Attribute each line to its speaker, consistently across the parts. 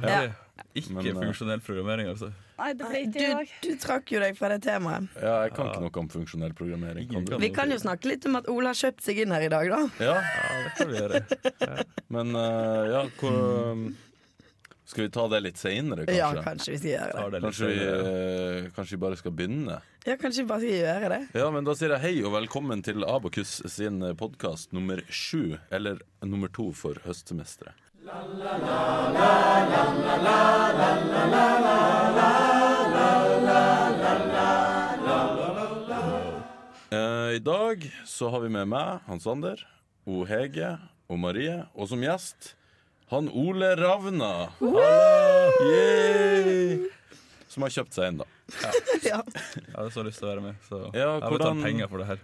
Speaker 1: Ja.
Speaker 2: Ikke
Speaker 3: Men, eh,
Speaker 2: funksjonell programmering, altså.
Speaker 1: Nei, det ble
Speaker 4: Du,
Speaker 1: ikke i dag.
Speaker 4: du trakk jo deg fra det temaet.
Speaker 3: Ja, jeg kan ikke noe om funksjonell programmering. Kan du?
Speaker 2: Ingen
Speaker 4: Vi kan jo snakke litt om at Ole har kjøpt seg inn her i dag, da.
Speaker 3: Ja,
Speaker 2: Ja, det kan vi gjøre.
Speaker 3: men eh, ja, hvor eh, Skal vi ta det litt seinere, kanskje?
Speaker 4: Ja, kanskje vi skal gjøre det.
Speaker 2: Tar det litt
Speaker 3: Kanskje vi,
Speaker 2: senere.
Speaker 3: eh, kanskje vi bare skal begynne?
Speaker 4: Ja, kanskje vi bare skal gjøre det.
Speaker 3: Ja, men da sier jeg hei og velkommen til Abokus sin podkast nummer sju, eller nummer to for høstsemesteret. Eh, I dag så har vi med meg Hans Ander, O Hege og Marie, og som gjest han Ole Ravna. Hallo! Yay! Som har kjøpt seg inn, da.
Speaker 4: Ja.
Speaker 2: Jeg hadde så lyst til å være med, så
Speaker 3: Ja,
Speaker 2: jeg betaler
Speaker 3: hvordan-
Speaker 2: penger for det her.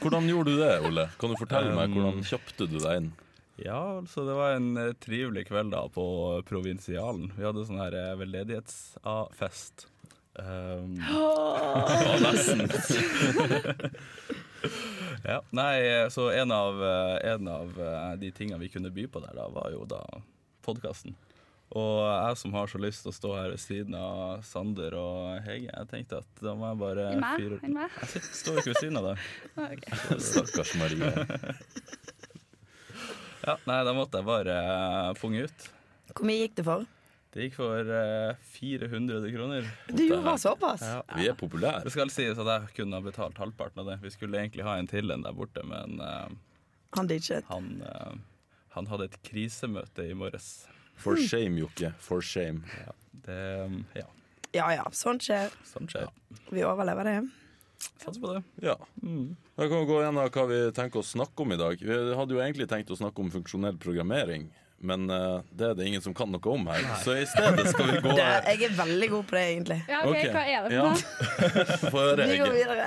Speaker 3: Hvordan gjorde du det, Ole? Kan du fortelle meg
Speaker 2: Um,
Speaker 3: hvordan kjøpte du deg inn?
Speaker 2: Ja, altså det var en eh, trivelig kveld da på Provinsialen. Vi hadde sånn her eh, veldedighetsfest. Um, ja, nei, så en av, eh, en av eh, de tingene vi kunne by på der da, var jo da podkasten. Og jeg som har så lyst til å stå her ved siden av Sander og Hege, jeg tenkte at da må jeg bare
Speaker 1: I meg?
Speaker 2: fyre-
Speaker 1: I meg?
Speaker 2: Jeg sitter- står jo ikke ved siden av deg.
Speaker 1: Ah, ok.
Speaker 3: Stakkars Marie.
Speaker 2: Ja, nei, da måtte jeg bare eh, punge ut.
Speaker 4: Hvor mye gikk det for?
Speaker 2: Det gikk for eh, 400 kroner.
Speaker 4: Du var såpass.
Speaker 2: Ja.
Speaker 3: Vi er
Speaker 2: Det
Speaker 3: populære.
Speaker 2: skal sies at jeg kunne ha betalt halvparten av det. Vi skulle egentlig ha en til enn der borte, men eh,
Speaker 4: Han ditchet.
Speaker 2: han, eh, han hadde et krisemøte i morges.
Speaker 3: For shame, Jokke. For shame.
Speaker 2: Ja, det, mm, ja
Speaker 4: Ja ja, sånt skjer.
Speaker 2: sånn skjer.
Speaker 4: Vi overlever det.
Speaker 2: Satser på det.
Speaker 3: Ja. Da kan vi gå gjennom hva vi tenker å snakke om i dag. Vi hadde jo egentlig tenkt å snakke om funksjonell programmering, men eh, det er det ingen som kan noe om her. Så i stedet skal vi gå
Speaker 4: det. Jeg er veldig god på det, egentlig.
Speaker 1: Ja, ok,
Speaker 3: Ok.
Speaker 1: Hva er det for
Speaker 3: Ja.
Speaker 1: noe?
Speaker 3: Få høre,
Speaker 4: Vi går
Speaker 3: Hege.
Speaker 4: videre.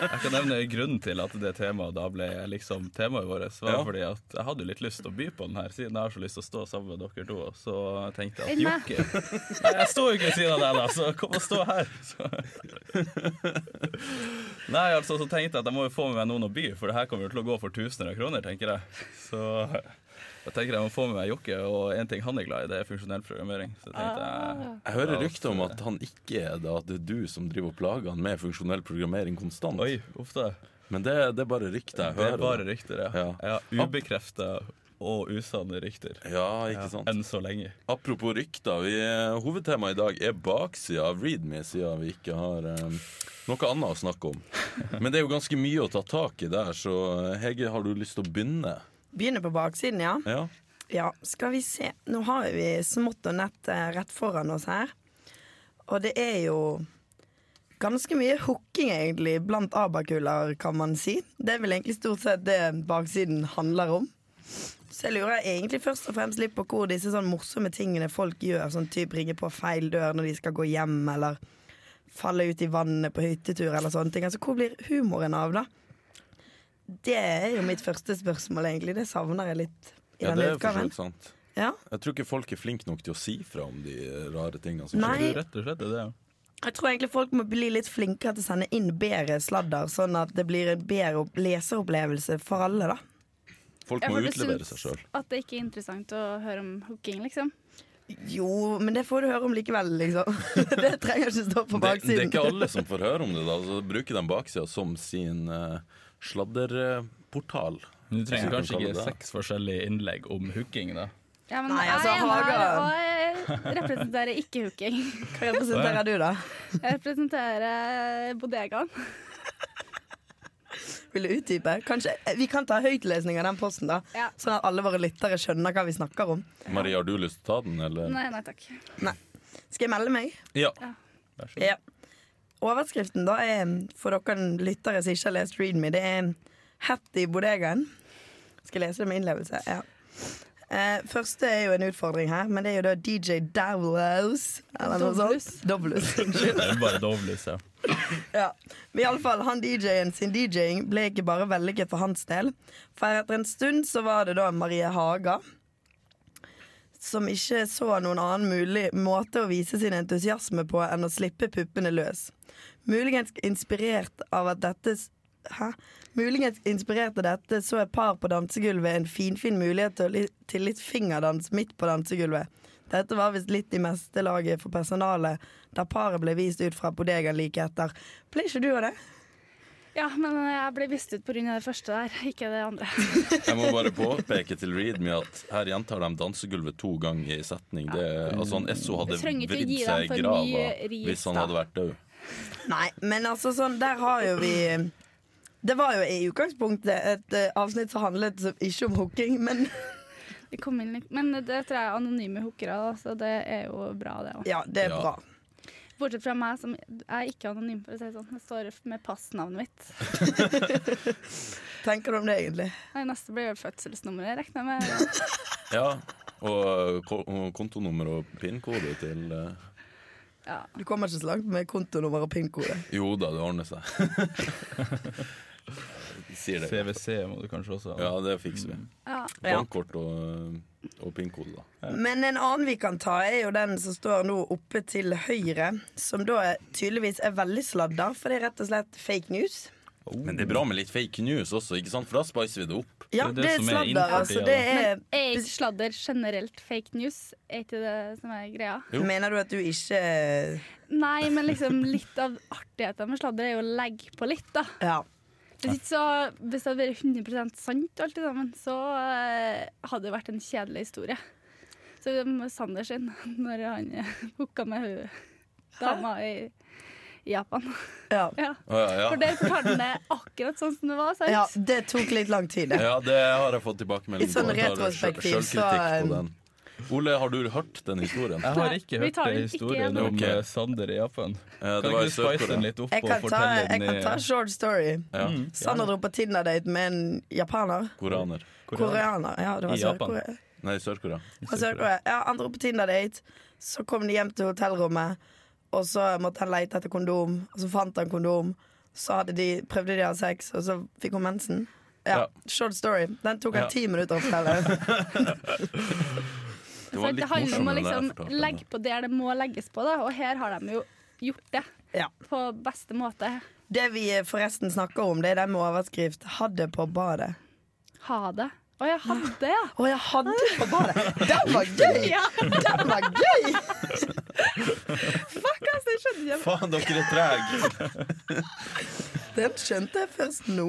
Speaker 2: Jeg kan nevne grunnen til at det temaet da ble liksom temaet vårt. var
Speaker 3: Ja.
Speaker 2: fordi at Jeg hadde jo litt lyst til å by på den her, siden jeg har så lyst til å stå sammen med dere to. Så jeg tenkte
Speaker 1: Enn
Speaker 2: at
Speaker 1: meg?
Speaker 2: Jokke Nei, Jeg står jo ikke ved siden av deg, da, så kom og stå her. Så. Nei, altså, så tenkte jeg at jeg må jo få med meg noen å by, for det her kommer jo til å gå for tusener av kroner, tenker jeg. Så jeg tenker jeg må få med meg Jokke, og en ting han er glad i, det er funksjonell programmering. Så tenkte jeg
Speaker 3: Jeg hører rykter om at han ikke er det, at det er du som driver og plager han med funksjonell programmering konstant.
Speaker 2: Oi, uff da.
Speaker 3: Men det, det er bare rykter jeg
Speaker 2: Det
Speaker 3: hører.
Speaker 2: er bare rykter, ja.
Speaker 3: Ja.
Speaker 2: ja. Ubekrefta og usanne rykter.
Speaker 3: Ja, ikke sant.
Speaker 2: Enn så lenge.
Speaker 3: Apropos rykter, vi, hovedtemaet i dag er baksida av Readme, siden vi ikke har eh, noe annet å snakke om. Men det er jo ganske mye å ta tak i der, så eh, Hege, har du lyst til å begynne?
Speaker 4: Begynner på baksiden, ja.
Speaker 3: Ja.
Speaker 4: Ja, skal vi se. Nå har vi smått og nett eh, rett foran oss her. Og det er jo ganske mye hooking, egentlig, blant abakuler, kan man si. Det er vel egentlig stort sett det baksiden handler om. Så jeg lurer egentlig først og fremst litt på hvor disse sånn morsomme tingene folk gjør, sånn typ ringe på feil dør når de skal gå hjem, eller falle ut i vannet på hyttetur, eller sånne ting. Altså, hvor blir humoren av, da? Det er jo mitt første spørsmål, egentlig. Det savner jeg litt i denne
Speaker 3: ja, det er for så
Speaker 4: utgaven.
Speaker 3: vidt sant.
Speaker 4: Ja.
Speaker 3: Jeg tror ikke folk er flinke nok til å si fra om de rare tingene som
Speaker 4: Nei.
Speaker 2: Det er Rett og slett det, det.
Speaker 4: Jeg tror egentlig folk må bli litt flinkere til å sende inn bedre sladder, sånn at det blir en bedre opp- leseropplevelse for alle, da.
Speaker 3: skjer. Folk
Speaker 1: Ja,
Speaker 3: må
Speaker 1: for du
Speaker 3: utlevere
Speaker 1: syns
Speaker 3: seg sjøl.
Speaker 1: At det ikke er interessant å høre om hooking, liksom.
Speaker 4: Jo, men det får du høre om likevel, liksom. Det trenger ikke stå på
Speaker 3: Det, det er
Speaker 4: baksiden.
Speaker 3: ikke alle som får høre om det, da. Så bruker de baksida som sin eh, sladderportal.
Speaker 2: Men Du trenger
Speaker 3: Ja.
Speaker 2: kanskje
Speaker 3: Kan kalle
Speaker 2: ikke
Speaker 3: det.
Speaker 2: seks forskjellige innlegg om hooking, da.
Speaker 1: Ja, men
Speaker 4: Nei, altså,
Speaker 1: jeg er en her,
Speaker 4: Haga-
Speaker 1: og jeg representerer ikke hooking.
Speaker 4: Hva representerer du, da?
Speaker 1: Jeg representerer eh, bodegaen.
Speaker 4: Vil du utdype? Kanskje eh, Vi kan ta høytlesning av den posten, da.
Speaker 1: Ja.
Speaker 4: Sånn at alle våre lyttere skjønner hva vi snakker om.
Speaker 3: Marie, har du lyst til å ta den, eller?
Speaker 1: Nei, nei takk.
Speaker 4: Nei. Skal jeg melde meg?
Speaker 3: Ja.
Speaker 2: Vær så god.
Speaker 4: Ja. Overskriften da er, for dere lyttere som ikke har lest Read Me, det er 'Hatt i bodegaen'. Skal jeg lese det med innlevelse? Ja. Eh, første er jo en utfordring her, men det er jo da DJ Davlos. Eller noe sånt. Doblus. Unnskyld.
Speaker 2: Det er bare dovlys, ja.
Speaker 4: Ja. Men iallfall, han DJ-en sin DJ-ing ble ikke bare vellykket for hans del. For etter en stund så var det da Marie Haga. Som ikke så noen annen mulig måte å vise sin entusiasme på enn å slippe puppene løs. Muligens inspirert av at dette s- Hæ? Muligens inspirerte dette så et par på dansegulvet en finfin mulighet til, å li- til litt fingerdans midt på dansegulvet. Dette var visst litt i meste laget for personalet, der paret ble vist ut fra bodegaen like etter. Ble ikke du av det?
Speaker 1: Ja, men eh, jeg ble vist ut pga. det første der, ikke det andre.
Speaker 3: Jeg må bare påpeke til Reed med at her gjentar de dansegulvet to ganger i setning. Det, altså han Esso hadde
Speaker 1: Du trenger ikke
Speaker 3: vridd
Speaker 1: gi
Speaker 3: seg
Speaker 1: dem
Speaker 3: i
Speaker 1: for
Speaker 3: grava
Speaker 1: mye ris,
Speaker 3: hvis han
Speaker 1: da.
Speaker 3: hadde vært død.
Speaker 4: Nei, men altså sånn, der har jo vi Det var jo i utgangspunktet et eh, avsnitt som handlet som- ikke om hooking, men
Speaker 1: Det kom inn litt. Men det tror jeg er anonyme hookere, da, så det er jo bra, det òg.
Speaker 4: ja, det er
Speaker 3: Ja.
Speaker 4: bra.
Speaker 1: Bortsett fra meg, som er ikke anonym, for å si det sånn. Jeg står med passnavnet mitt.
Speaker 4: Tenker du om det egentlig?
Speaker 1: Nei, neste blir vel fødselsnummeret, regner jeg med.
Speaker 3: Ja, og ko- og kontonummer og pin-kode til eh,
Speaker 1: Ja.
Speaker 4: Du kommer ikke så langt med kontonummer og pin-kode.
Speaker 3: Jo da, det ordner seg. De Sier det.
Speaker 2: CVC må du kanskje også ha.
Speaker 3: Ja, det fikser vi.
Speaker 1: ja.
Speaker 3: Bankkort og, og pin-kode, da.
Speaker 4: Men en annen vi kan ta, er jo den som står nå oppe til høyre, som da er- tydeligvis er veldig sladder, for det er rett og slett fake news.
Speaker 3: Men det er bra med litt fake news også, ikke sant? for da spicer vi det opp.
Speaker 4: Ja,
Speaker 2: Det er det
Speaker 4: det er
Speaker 2: som er
Speaker 4: sladder,
Speaker 2: innenfor
Speaker 4: altså.
Speaker 2: tida,
Speaker 4: Det er
Speaker 1: Men er ikke sladder generelt fake news? Er ikke det som er greia?
Speaker 3: Jo.
Speaker 4: Mener du at du ikke
Speaker 1: Nei, men liksom litt av artigheten med sladder er jo å legge på litt, da.
Speaker 4: Ja.
Speaker 1: Hvis, ikke så, hvis det hadde vært 100 sant alt sammen, så eh, hadde det vært en kjedelig historie. Så det med Sander sin, når han eh, hooka med hun dama i i Japan.
Speaker 4: Ja.
Speaker 1: Ja.
Speaker 3: Å, ja,
Speaker 1: For
Speaker 3: ja.
Speaker 1: der fortalte han det akkurat sånn som det var, sant?
Speaker 4: ja, det tok litt lang tid, det.
Speaker 3: ja, det har jeg fått tilbakemelding
Speaker 4: Litt sånn
Speaker 3: på. Jeg tar
Speaker 4: retrospektiv,
Speaker 3: sjøl-
Speaker 4: så, um,
Speaker 3: sjølkritikk på den. Ole, har du hørt den historien?
Speaker 2: Jeg har ikke
Speaker 1: Nei, vi
Speaker 2: hørt
Speaker 1: tar den
Speaker 2: den
Speaker 1: ikke
Speaker 2: historien
Speaker 1: igjen.
Speaker 2: om
Speaker 3: Ok.
Speaker 2: eh, Sander i Japan.
Speaker 3: Eh,
Speaker 2: Kan
Speaker 3: det
Speaker 2: ikke
Speaker 3: var i
Speaker 2: du spice den
Speaker 3: Sør-Korea.
Speaker 2: litt Mm. opp
Speaker 4: Jeg
Speaker 2: og
Speaker 4: kan ta,
Speaker 2: fortelle
Speaker 4: jeg
Speaker 2: den eh,
Speaker 4: kan ta
Speaker 2: i
Speaker 4: short story.
Speaker 3: Ja,
Speaker 4: Sander dro på Tinder-date med en japaner.
Speaker 3: Koreaner.
Speaker 4: Koreaner. Ja, det var
Speaker 2: I Japan.
Speaker 4: Sør-Korea.
Speaker 3: Nei, Sør-Korea.
Speaker 4: Han søkte det. Ja, han dro på Tinder-date, så kom de hjem til hotellrommet, og så måtte han lete etter kondom, og så fant han kondom. Så hadde de, prøvde de å ha sex, og så fikk hun mensen. Ja,
Speaker 3: Ja.
Speaker 4: Short story. Den tok
Speaker 3: Ja.
Speaker 4: han ti minutter å fortelle.
Speaker 3: det var
Speaker 1: Så
Speaker 3: litt
Speaker 1: det handler om å
Speaker 3: morsommere enn
Speaker 1: liksom
Speaker 3: jeg fortalte
Speaker 1: legge på der det må legges på, da. Og her har de jo gjort det
Speaker 4: Ja.
Speaker 1: på beste måte.
Speaker 4: Det vi forresten snakker om, det er den med overskrift 'Hadde på badet'.
Speaker 1: Ha det. Å, jeg hadde det, ja.
Speaker 4: Å, jeg hadde på badet! Den var gøy!
Speaker 1: ja.
Speaker 4: Den var gøy!
Speaker 1: Fuck, altså, jeg skjønner ikke.
Speaker 3: Faen, dere er trege!
Speaker 4: Den skjønte jeg først nå.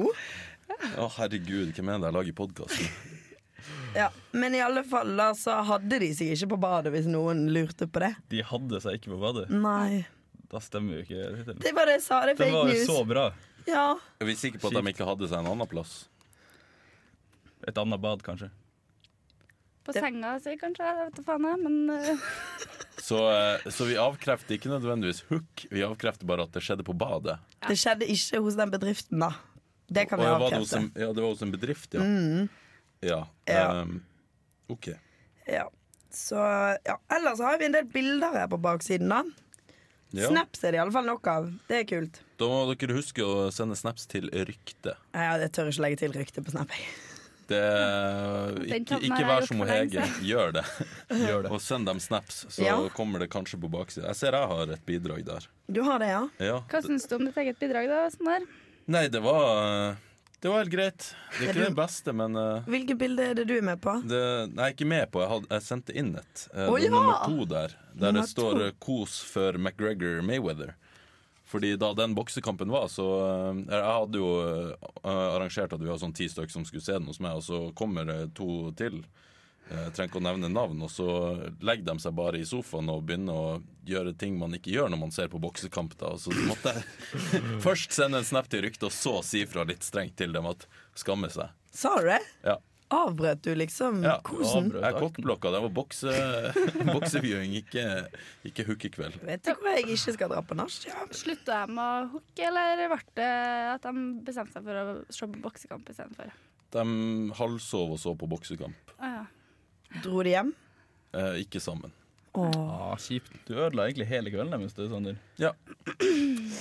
Speaker 3: Å, herregud, hvem er det jeg lager podkast med?
Speaker 4: Ja. Men i alle fall, da, så hadde de seg ikke på badet, hvis noen lurte på det.
Speaker 2: De hadde seg ikke på badet.
Speaker 4: Nei.
Speaker 2: Da stemmer jo ikke tittelen.
Speaker 4: Det var det jeg sa. Det er
Speaker 2: Den
Speaker 4: Mm. fake
Speaker 2: var jo
Speaker 4: news.
Speaker 2: så bra.
Speaker 4: Ja.
Speaker 3: Er vi sikre på at de ikke hadde seg en annen plass?
Speaker 2: Et annet bad, kanskje.
Speaker 1: På senga si, kanskje. Jeg vet da faen, jeg. Men eh,
Speaker 3: Så, eh, så vi avkrefter ikke nødvendigvis hook, vi avkrefter bare at det skjedde på badet.
Speaker 4: Det skjedde ikke hos den bedriften, da. Det kan
Speaker 3: Og
Speaker 4: vi
Speaker 3: jeg var det hos
Speaker 4: avkrefte.
Speaker 3: en, ja, det var hos en bedrift, ja. Ja.
Speaker 4: Ja.
Speaker 3: ehm, OK.
Speaker 4: Ja. Så, ja. Ellers har vi en del bilder her på baksiden, da.
Speaker 3: Ja.
Speaker 4: Snaps er det iallfall nok av. Det er kult.
Speaker 3: Da må dere huske å sende snaps til Rykte.
Speaker 4: Ja, jeg tør ikke legge til rykte på Snap. jeg.
Speaker 3: Det,
Speaker 1: Den
Speaker 3: ikke
Speaker 1: tabben
Speaker 3: ikke
Speaker 1: har jeg
Speaker 3: vær
Speaker 1: gjort
Speaker 3: som
Speaker 1: for lenge
Speaker 3: Hege. Gjør det.
Speaker 2: Gjør det.
Speaker 3: Og send dem snaps, så
Speaker 4: Ja.
Speaker 3: kommer det kanskje på baksida. Jeg ser jeg har et bidrag der.
Speaker 4: Du har det, ja?
Speaker 3: Ja.
Speaker 1: hva syns du om ditt eget bidrag, da, Sander?
Speaker 3: Nei, det var eh, Det var helt greit. Det er
Speaker 4: Er
Speaker 3: ikke
Speaker 4: du-
Speaker 3: det beste, men eh,
Speaker 4: Hvilke bilder er det du er med på?
Speaker 3: det, Nei, ikke med på. Jeg, hadde, jeg sendte inn et. Eh,
Speaker 4: Å,
Speaker 3: det er
Speaker 4: ja!
Speaker 3: nummer to der. Der
Speaker 4: Nummer
Speaker 3: det står
Speaker 4: to.
Speaker 3: eh, 'kos for McGregor Mayweather'. Fordi da den boksekampen var, så eh, Jeg hadde jo eh, arrangert at vi var sånn ti stykker som skulle se den hos meg, og så kommer det to til. Eh, Jeg trenger ikke å nevne navn. Og så legger de seg bare i sofaen og begynner å gjøre ting man ikke gjør når man ser på boksekamp. Da. Og Så måtte jeg først sende en snap til Rykte, og så si fra litt strengt til dem at skamme seg.
Speaker 4: Sa du det?
Speaker 3: Ja.
Speaker 4: Avbrøt du liksom
Speaker 3: Ja,
Speaker 4: kosen?
Speaker 2: avbrøt.
Speaker 3: Jeg kokkblokka. Det var bokse, bokseviewing, ikke, ikke hookekveld.
Speaker 4: Vet du hvor jeg ikke skal dra på nach? Ja.
Speaker 1: Slutta de å hooke, eller ble det at de bestemte seg for å se på boksekamp istedenfor?
Speaker 3: De halvsov og så på boksekamp.
Speaker 1: Å ja.
Speaker 4: Dro de hjem?
Speaker 3: Eh, ikke sammen.
Speaker 4: Åh.
Speaker 2: Ah, kjipt. Du ødela egentlig hele kvelden deres, du, Sander.
Speaker 3: Ja,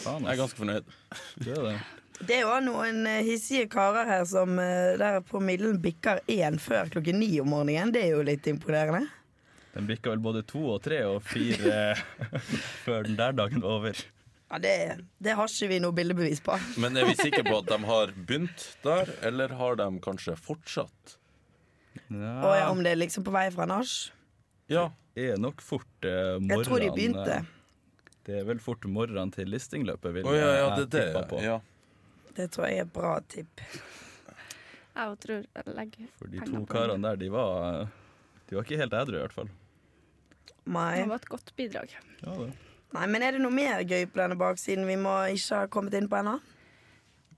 Speaker 2: Faen,
Speaker 3: jeg er ganske fornøyd.
Speaker 2: ass. Du er det.
Speaker 4: Det er jo også noen eh, hissige karer her som eh, der promillen bikker én før klokken ni om morgenen. Det er jo litt imponerende.
Speaker 2: Den bikka vel både to og tre og fire eh, før den der dagen var over.
Speaker 4: Ja, det, det har ikke vi noe bildebevis på.
Speaker 3: Men er vi sikre på at de har begynt der, eller har de kanskje fortsatt?
Speaker 2: Ah.
Speaker 4: Og ja, om det er liksom på vei fra nach.
Speaker 3: Ja.
Speaker 2: er nok fort eh, morgenen
Speaker 4: Jeg tror de begynte.
Speaker 2: eh, Det er vel fort morgenen til listingløpet, vil
Speaker 3: Å ja, ja, det
Speaker 2: jeg
Speaker 3: er det.
Speaker 2: tippe på.
Speaker 3: Ja.
Speaker 4: Det tror jeg er et bra tipp.
Speaker 1: Jeg tror jeg legger
Speaker 2: For de
Speaker 1: penger
Speaker 2: to
Speaker 1: på det.
Speaker 2: karene der, de var eh, De var ikke helt edru, i hvert fall.
Speaker 4: Mai.
Speaker 1: Det var et godt bidrag.
Speaker 2: Ja, det.
Speaker 4: Nei, men er det noe mer gøy på denne baksiden vi må ikke ha kommet inn på ennå?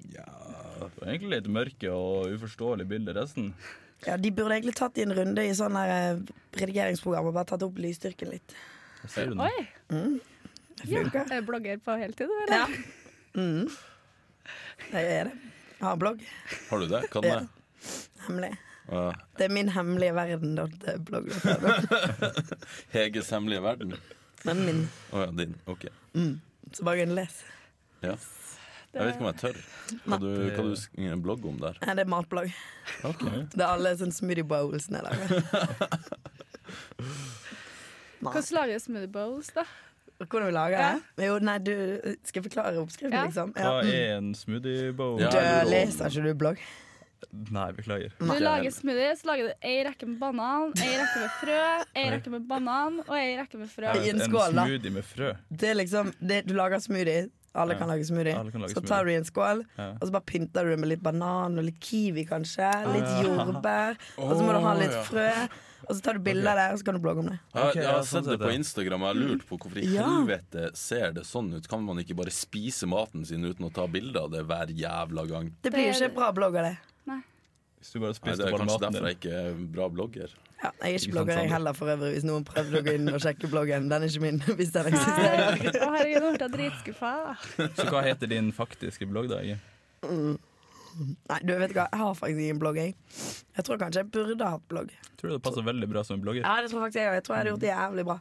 Speaker 2: det var egentlig litt mørke og uforståelig bilde, resten.
Speaker 4: Ja, de burde egentlig tatt i en runde i sånn her eh, redigeringsprogram og bare tatt opp lysstyrken litt.
Speaker 2: Hva sier du nå?
Speaker 1: Oi!
Speaker 2: Mm.
Speaker 1: Ja, jeg er blogger på heltid, du, eller?
Speaker 4: Ja. Mm. Det er det. Jeg har en blogg.
Speaker 3: Har du det? Kan det?
Speaker 4: Hemmelig.
Speaker 3: Ja.
Speaker 4: Det er min hemmelige verden. da, det er blogg.
Speaker 3: Heges hemmelige verden.
Speaker 4: Men min.
Speaker 3: Å ja, din. Ok.
Speaker 4: Så bare kan les.
Speaker 3: Ja. Jeg vet ikke om jeg tør. Hva du, hva du sk- blogge om der?
Speaker 4: Nei, det er matblogg. Det er alle sånn smoothie bowls nede der. Nei.
Speaker 1: Hvordan lager jeg smoothie bowls, da?
Speaker 4: Hvordan vi lager det? Jo, nei, du Skal jeg forklare oppskriften,
Speaker 1: Ja.
Speaker 4: liksom?
Speaker 2: Hva
Speaker 4: Ja.
Speaker 2: er en smoothie bowl?
Speaker 3: Ja.
Speaker 4: Du
Speaker 3: jeg lurer
Speaker 4: leser ikke du blogg?
Speaker 2: Nei, beklager.
Speaker 1: Du
Speaker 3: Nei.
Speaker 1: lager smoothie, så lager du ei rekke med banan, ei rekke med frø, ei rekke med banan og ei rekke med frø.
Speaker 4: I en
Speaker 2: En
Speaker 4: skål, da.
Speaker 2: smoothie med frø.
Speaker 4: Det er liksom det, Du lager smoothie. Alle
Speaker 2: Ja.
Speaker 4: kan lage smoothie.
Speaker 2: Alle kan lage
Speaker 4: så
Speaker 2: smoothie.
Speaker 4: tar du i en skål,
Speaker 2: Ja. Ah,
Speaker 4: og så bare pynter du det med litt banan og litt kiwi, kanskje. Litt
Speaker 2: ja.
Speaker 4: jordbær. Og så må du ha litt
Speaker 3: Å, ja.
Speaker 4: frø. Og så tar du bilder av det, og så kan du blogge om det.
Speaker 3: Jeg,
Speaker 2: Ok,
Speaker 3: jeg
Speaker 2: ja,
Speaker 3: har
Speaker 2: sånn
Speaker 3: sett det
Speaker 2: sett,
Speaker 3: på
Speaker 2: ja.
Speaker 3: Instagram, og jeg har lurt på hvorfor i
Speaker 4: Ja.
Speaker 3: helvete ser det sånn ut. Kan man ikke bare spise maten sin uten å ta bilder av det hver jævla gang?
Speaker 4: Det blir jo ikke et bra blogg av det.
Speaker 2: Hvis du bare
Speaker 3: Nei,
Speaker 2: spiste
Speaker 3: det er
Speaker 2: bare
Speaker 3: kanskje
Speaker 2: maten
Speaker 3: derfor
Speaker 2: din.
Speaker 3: jeg ikke er en bra
Speaker 4: Ja, jeg
Speaker 3: blogger.
Speaker 4: er ikke
Speaker 2: Ikke sant,
Speaker 4: blogger jeg
Speaker 2: Sander?
Speaker 4: heller, for øvrig, hvis noen prøvde å gå inn og sjekke bloggen. Den er ikke min, hvis den
Speaker 1: Nei,
Speaker 4: eksisterer.
Speaker 1: Å, herregud, nå ble jeg dritskuffa.
Speaker 2: Så hva heter din faktiske blogg, da? Ege?
Speaker 4: Nei, du vet du hva, jeg har faktisk ingen blogg, jeg. Jeg tror kanskje jeg burde hatt blogg.
Speaker 2: Tror du det passer veldig bra som en blogger?
Speaker 4: Ja, det tror faktisk jeg òg. Jeg tror jeg hadde gjort det jævlig bra.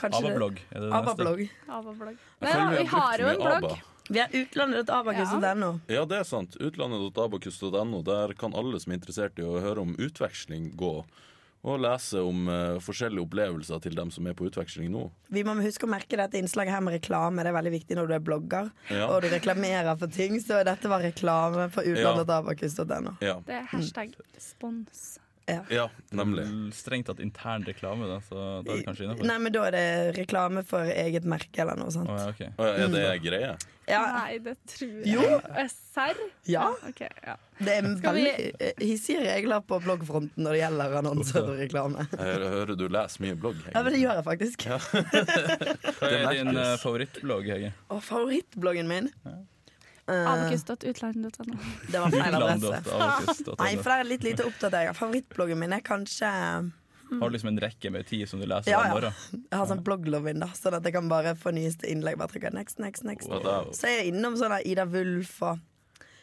Speaker 4: Kanskje det-
Speaker 2: ABBA-blogg er det neste.
Speaker 4: ABBA-blogg.
Speaker 1: ABBA-blogg.
Speaker 3: Jeg
Speaker 1: Nei,
Speaker 3: føler
Speaker 1: da,
Speaker 3: vi
Speaker 1: vi
Speaker 3: har
Speaker 1: har
Speaker 3: brukt
Speaker 1: jo en
Speaker 3: mye
Speaker 1: blogg.
Speaker 3: ABBA.
Speaker 4: Vi er utlandet.abakus.no.
Speaker 3: Ja, det er sant. Utlandet.abakus.no. Der kan alle som er interessert i å høre om utveksling, gå og lese om eh, forskjellige opplevelser til dem som er på utveksling nå.
Speaker 4: Vi må huske å merke dette innslaget her med reklame. Det er veldig viktig når du er blogger
Speaker 3: Ja.
Speaker 4: og du reklamerer for ting. Så dette var reklame for utlandet.abakus.no.
Speaker 3: Ja,
Speaker 1: Det er hashtag
Speaker 3: Mm.
Speaker 1: spons.
Speaker 3: ja nemlig.
Speaker 2: L- Strengt tatt intern reklame, da, så da er det kanskje innafor.
Speaker 4: Nei, men da er det reklame for eget merke eller noe sånt.
Speaker 2: ja, ok.
Speaker 3: Å, Er det greie?
Speaker 4: Ja,
Speaker 1: Nei, det tror jeg
Speaker 4: Jo.
Speaker 1: Eh, Serr?
Speaker 4: Ja.
Speaker 1: Ok, ja.
Speaker 4: det er
Speaker 1: Skal
Speaker 4: veldig
Speaker 1: vi-
Speaker 4: eh, hissige regler på bloggfronten når det gjelder annonser og reklame.
Speaker 3: Jeg hører du leser mye blogg.
Speaker 4: Ja, men det gjør jeg faktisk.
Speaker 2: Hva er din
Speaker 3: merkes.
Speaker 2: eh, favorittblogg, Hege?
Speaker 4: Og favorittbloggen min eh,
Speaker 1: Abacus.utlandet.no.
Speaker 4: Det var feil adresse.
Speaker 2: Utlandet.abakus.no.
Speaker 4: Nei, for det er litt lite oppdatering. Favorittbloggen min er kanskje
Speaker 2: Har du liksom en rekke med ti som du leser
Speaker 4: Ja,
Speaker 2: hver
Speaker 4: ja.
Speaker 2: morgen?
Speaker 4: Jeg har sånn blogglogin, da, sånn at jeg kan bare få nyeste innlegg. Bare trykke next, next, next.
Speaker 3: Og da-
Speaker 4: Så er jeg innom sånn der Ida Wulf og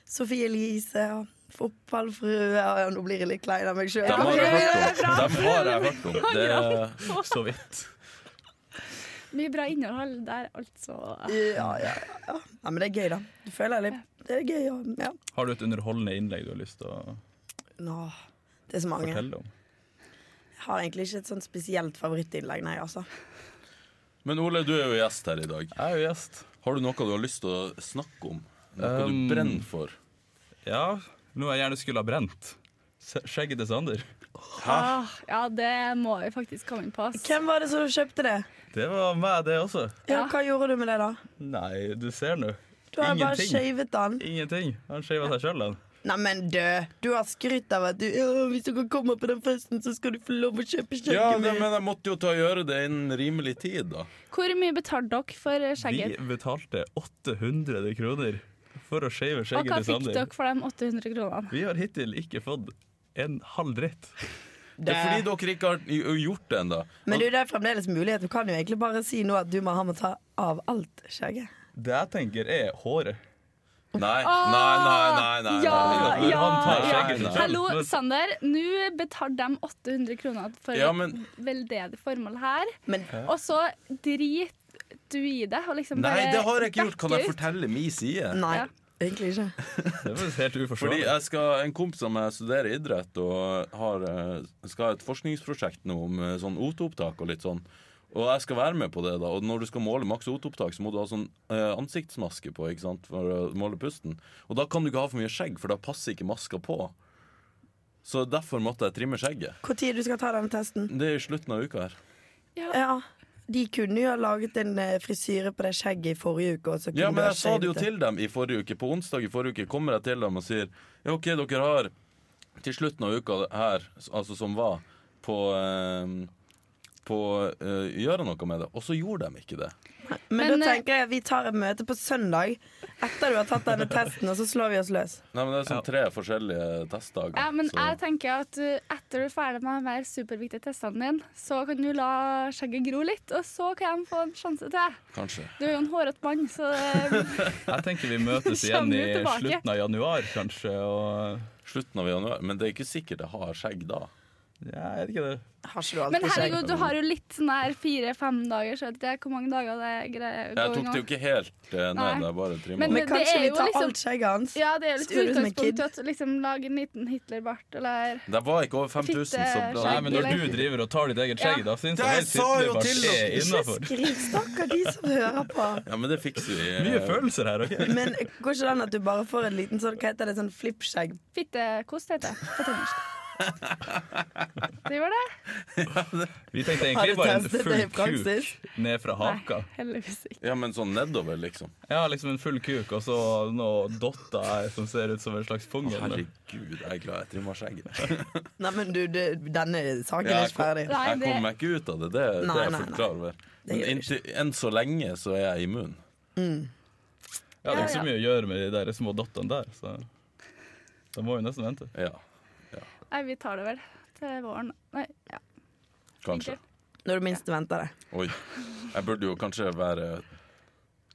Speaker 4: Sofie Elise og Fotballfrue og ja, Nå blir jeg litt klein av meg sjøl.
Speaker 3: Dem har jeg hørt om. Dem har jeg hørt om. Det,
Speaker 2: Så vidt.
Speaker 1: Mye bra innhold der, altså.
Speaker 4: Ja, ja, ja. ja, men det er gøy, da. Du føler litt Det er gøy. og- Ja.
Speaker 2: Har du et underholdende innlegg du har lyst til å
Speaker 4: Nå, det er så mange. Jeg
Speaker 2: fortelle om?
Speaker 4: har egentlig ikke et sånt spesielt favorittinnlegg, nei, altså.
Speaker 3: men Ole, du er jo gjest her i dag.
Speaker 2: Jeg er jo gjest.
Speaker 3: Har du noe du har lyst til å snakke om? Noe
Speaker 2: Um,
Speaker 3: du brenner for?
Speaker 2: Ja, noe jeg gjerne skulle ha brent. Se- Skjegget til Sander.
Speaker 1: Ah, ja, det må vi faktisk komme inn på. ass.
Speaker 4: Hvem var det som kjøpte det?
Speaker 2: Det var meg, det også.
Speaker 4: Ja,
Speaker 1: Ja.
Speaker 4: hva gjorde du med det, da?
Speaker 2: Nei, du ser nå.
Speaker 4: Du har bare
Speaker 2: Ingenting.
Speaker 4: shavet den.
Speaker 2: Ingenting. Han skeiva seg sjøl, han.
Speaker 4: Nei, men du, du har skrytt av at du ja, 'Hvis dere kommer på den festen, så skal du få lov å kjøpe skjegget
Speaker 3: Ja, det,
Speaker 4: mitt'.
Speaker 3: men jeg måtte jo ta og gjøre det innen rimelig tid, da.
Speaker 1: Hvor mye betalte dere for
Speaker 2: Vi
Speaker 1: skjegget?
Speaker 2: betalte 800 kroner for å shave
Speaker 1: Og hva
Speaker 2: skjegget til
Speaker 1: fikk
Speaker 2: Sander.
Speaker 1: dere for de 800 kronene?
Speaker 2: Vi har hittil ikke fått en halv dritt.
Speaker 3: Det er fordi dere ikke har i- gjort det ennå.
Speaker 4: Men du, det er fremdeles mulighet. Du kan jo egentlig bare si nå at du må ha med å ta av alt skjegget.
Speaker 2: Det jeg tenker, er håret.
Speaker 3: Nei, nei, nei, nei, nei, nei.
Speaker 1: Ja,
Speaker 3: nei, nei.
Speaker 1: Ah, ja,
Speaker 2: Han tar skjegget
Speaker 3: ja.
Speaker 2: til
Speaker 1: Hallo,
Speaker 2: selv.
Speaker 1: Sander. Nå betalte de 800 kroner for
Speaker 3: Ja, men-
Speaker 1: et veldedig formål her,
Speaker 4: Men
Speaker 1: og så driter du i det og liksom
Speaker 3: Nei,
Speaker 1: bare
Speaker 3: det har jeg ikke gjort. Kan jeg
Speaker 1: dekker ut.
Speaker 3: fortelle min side?
Speaker 4: nei,
Speaker 1: Ja.
Speaker 4: egentlig ikke.
Speaker 2: Det var helt
Speaker 3: Fordi
Speaker 2: uforståelig.
Speaker 3: jeg skal, En kompis av meg studerer idrett og har, eh, skal ha et forskningsprosjekt nå om eh, sånn O2-opptak og litt sånn. Og jeg skal være med på det. da Og når du skal måle maks O2-opptak, så må du ha sånn eh, ansiktsmaske på ikke sant, for å måle pusten. Og da kan du ikke ha for mye skjegg, for da passer ikke maska på. Så derfor måtte jeg trimme skjegget.
Speaker 4: Hvor tid du skal ta denne testen?
Speaker 3: Det er i slutten av uka her.
Speaker 1: Ja.
Speaker 4: Ja, de kunne jo ha laget en eh, frisyre på det skjegget i forrige uke. Og så kunne
Speaker 3: Ja, men
Speaker 4: du ha
Speaker 3: jeg sa det jo
Speaker 4: shavet
Speaker 3: til dem i forrige uke. På onsdag i forrige uke kommer jeg til dem og sier Ja, OK, dere har til slutten av uka her, s- altså som var, på, eh, på eh, gjøre noe med det. Og så gjorde de ikke det.
Speaker 4: Men,
Speaker 1: Men,
Speaker 4: da
Speaker 1: eh,
Speaker 4: tenker jeg at vi tar et møte på søndag etter du har tatt denne testen, og så slår vi oss løs.
Speaker 3: Nei, men Det er sånn tre forskjellige testdager.
Speaker 1: Ja, men
Speaker 3: så-
Speaker 1: jeg tenker at uh, etter du er ferdig med de her superviktige testene dine, så kan du la skjegget gro litt, og så kan jeg få en sjanse til.
Speaker 3: Kanskje.
Speaker 1: Du er jo en hårete mann, så eh, det
Speaker 2: Jeg tenker vi møtes igjen
Speaker 1: Kommer
Speaker 2: i
Speaker 1: jo tilbake.
Speaker 2: slutten av januar, kanskje. Og
Speaker 3: Slutten av januar. Men det er ikke sikkert jeg har skjegg da.
Speaker 2: ja, jeg vet ikke det.
Speaker 4: Har ikke du
Speaker 1: Men
Speaker 4: alltid skjegg?
Speaker 1: herregud, du har jo litt sånn her fire-fem dager, så vet jeg hvor mange dager det er greit.
Speaker 3: Jeg tok det jo ikke helt eh, ned.
Speaker 1: Nei.
Speaker 3: Jeg bare trimma.
Speaker 1: Men-
Speaker 4: Men
Speaker 1: det
Speaker 4: kanskje
Speaker 1: er
Speaker 4: vi
Speaker 1: jo
Speaker 4: tar
Speaker 1: liksom-
Speaker 4: alt skjegget hans?
Speaker 1: Ja, det er jo litt
Speaker 4: Ser ut som en
Speaker 1: utgangspunkt
Speaker 4: kid.
Speaker 1: til at liksom lage en liten Hitlerbart, eller
Speaker 3: Det var ikke over 5000, så
Speaker 1: Fitte-
Speaker 2: Nei,
Speaker 3: bra.
Speaker 2: men når du driver og tar ditt eget skjegg,
Speaker 1: Ja.
Speaker 2: da syns
Speaker 3: Det
Speaker 2: jeg helt
Speaker 3: sa jeg
Speaker 2: sittende
Speaker 3: jo
Speaker 2: bare
Speaker 3: til
Speaker 2: skje
Speaker 3: dere.
Speaker 4: Ikke
Speaker 2: innafor.
Speaker 4: skrik, stakkar de som hører på.
Speaker 3: Ja, men det fikser vi. eh,
Speaker 2: Mye følelser her, OK?
Speaker 4: Men går ikke det an at du bare får en liten sånn, hva heter det, sånn flippskjegg?
Speaker 1: fittekost, heter det på trøndersk. Det gjør det?
Speaker 2: Vi tenkte
Speaker 4: Har du
Speaker 2: egentlig bare en
Speaker 4: testet det i
Speaker 2: full
Speaker 4: praksis?
Speaker 2: kuk ned fra haka.
Speaker 1: Nei, heldigvis ikke.
Speaker 3: Ja, men sånn nedover, liksom.
Speaker 2: Jeg har liksom en full kuk og så noen dotter her som ser ut som en slags pungel.
Speaker 3: Herregud, jeg er glad jeg trimma skjegget.
Speaker 4: Nei, men du, du denne saken
Speaker 3: Ja,
Speaker 4: er
Speaker 3: jeg
Speaker 4: ikke ferdig.
Speaker 1: Nei,
Speaker 3: Jeg
Speaker 1: det-
Speaker 3: kommer meg ikke ut av det, det, det er
Speaker 4: Nei,
Speaker 3: jeg
Speaker 4: nei,
Speaker 3: fullt
Speaker 4: nei.
Speaker 3: klar over.
Speaker 4: Det
Speaker 3: Men
Speaker 4: gjør du
Speaker 3: inntil, enn så lenge så er jeg immun.
Speaker 2: Ja, det er ikke
Speaker 1: Ja, ja.
Speaker 2: så mye å gjøre med de der små dottene der, så da må vi nesten vente.
Speaker 3: Ja,
Speaker 1: Nei, vi tar det vel til våren. Nei, ja.
Speaker 3: kanskje.
Speaker 4: Når du minst venter det.
Speaker 3: Oi. Jeg burde jo kanskje være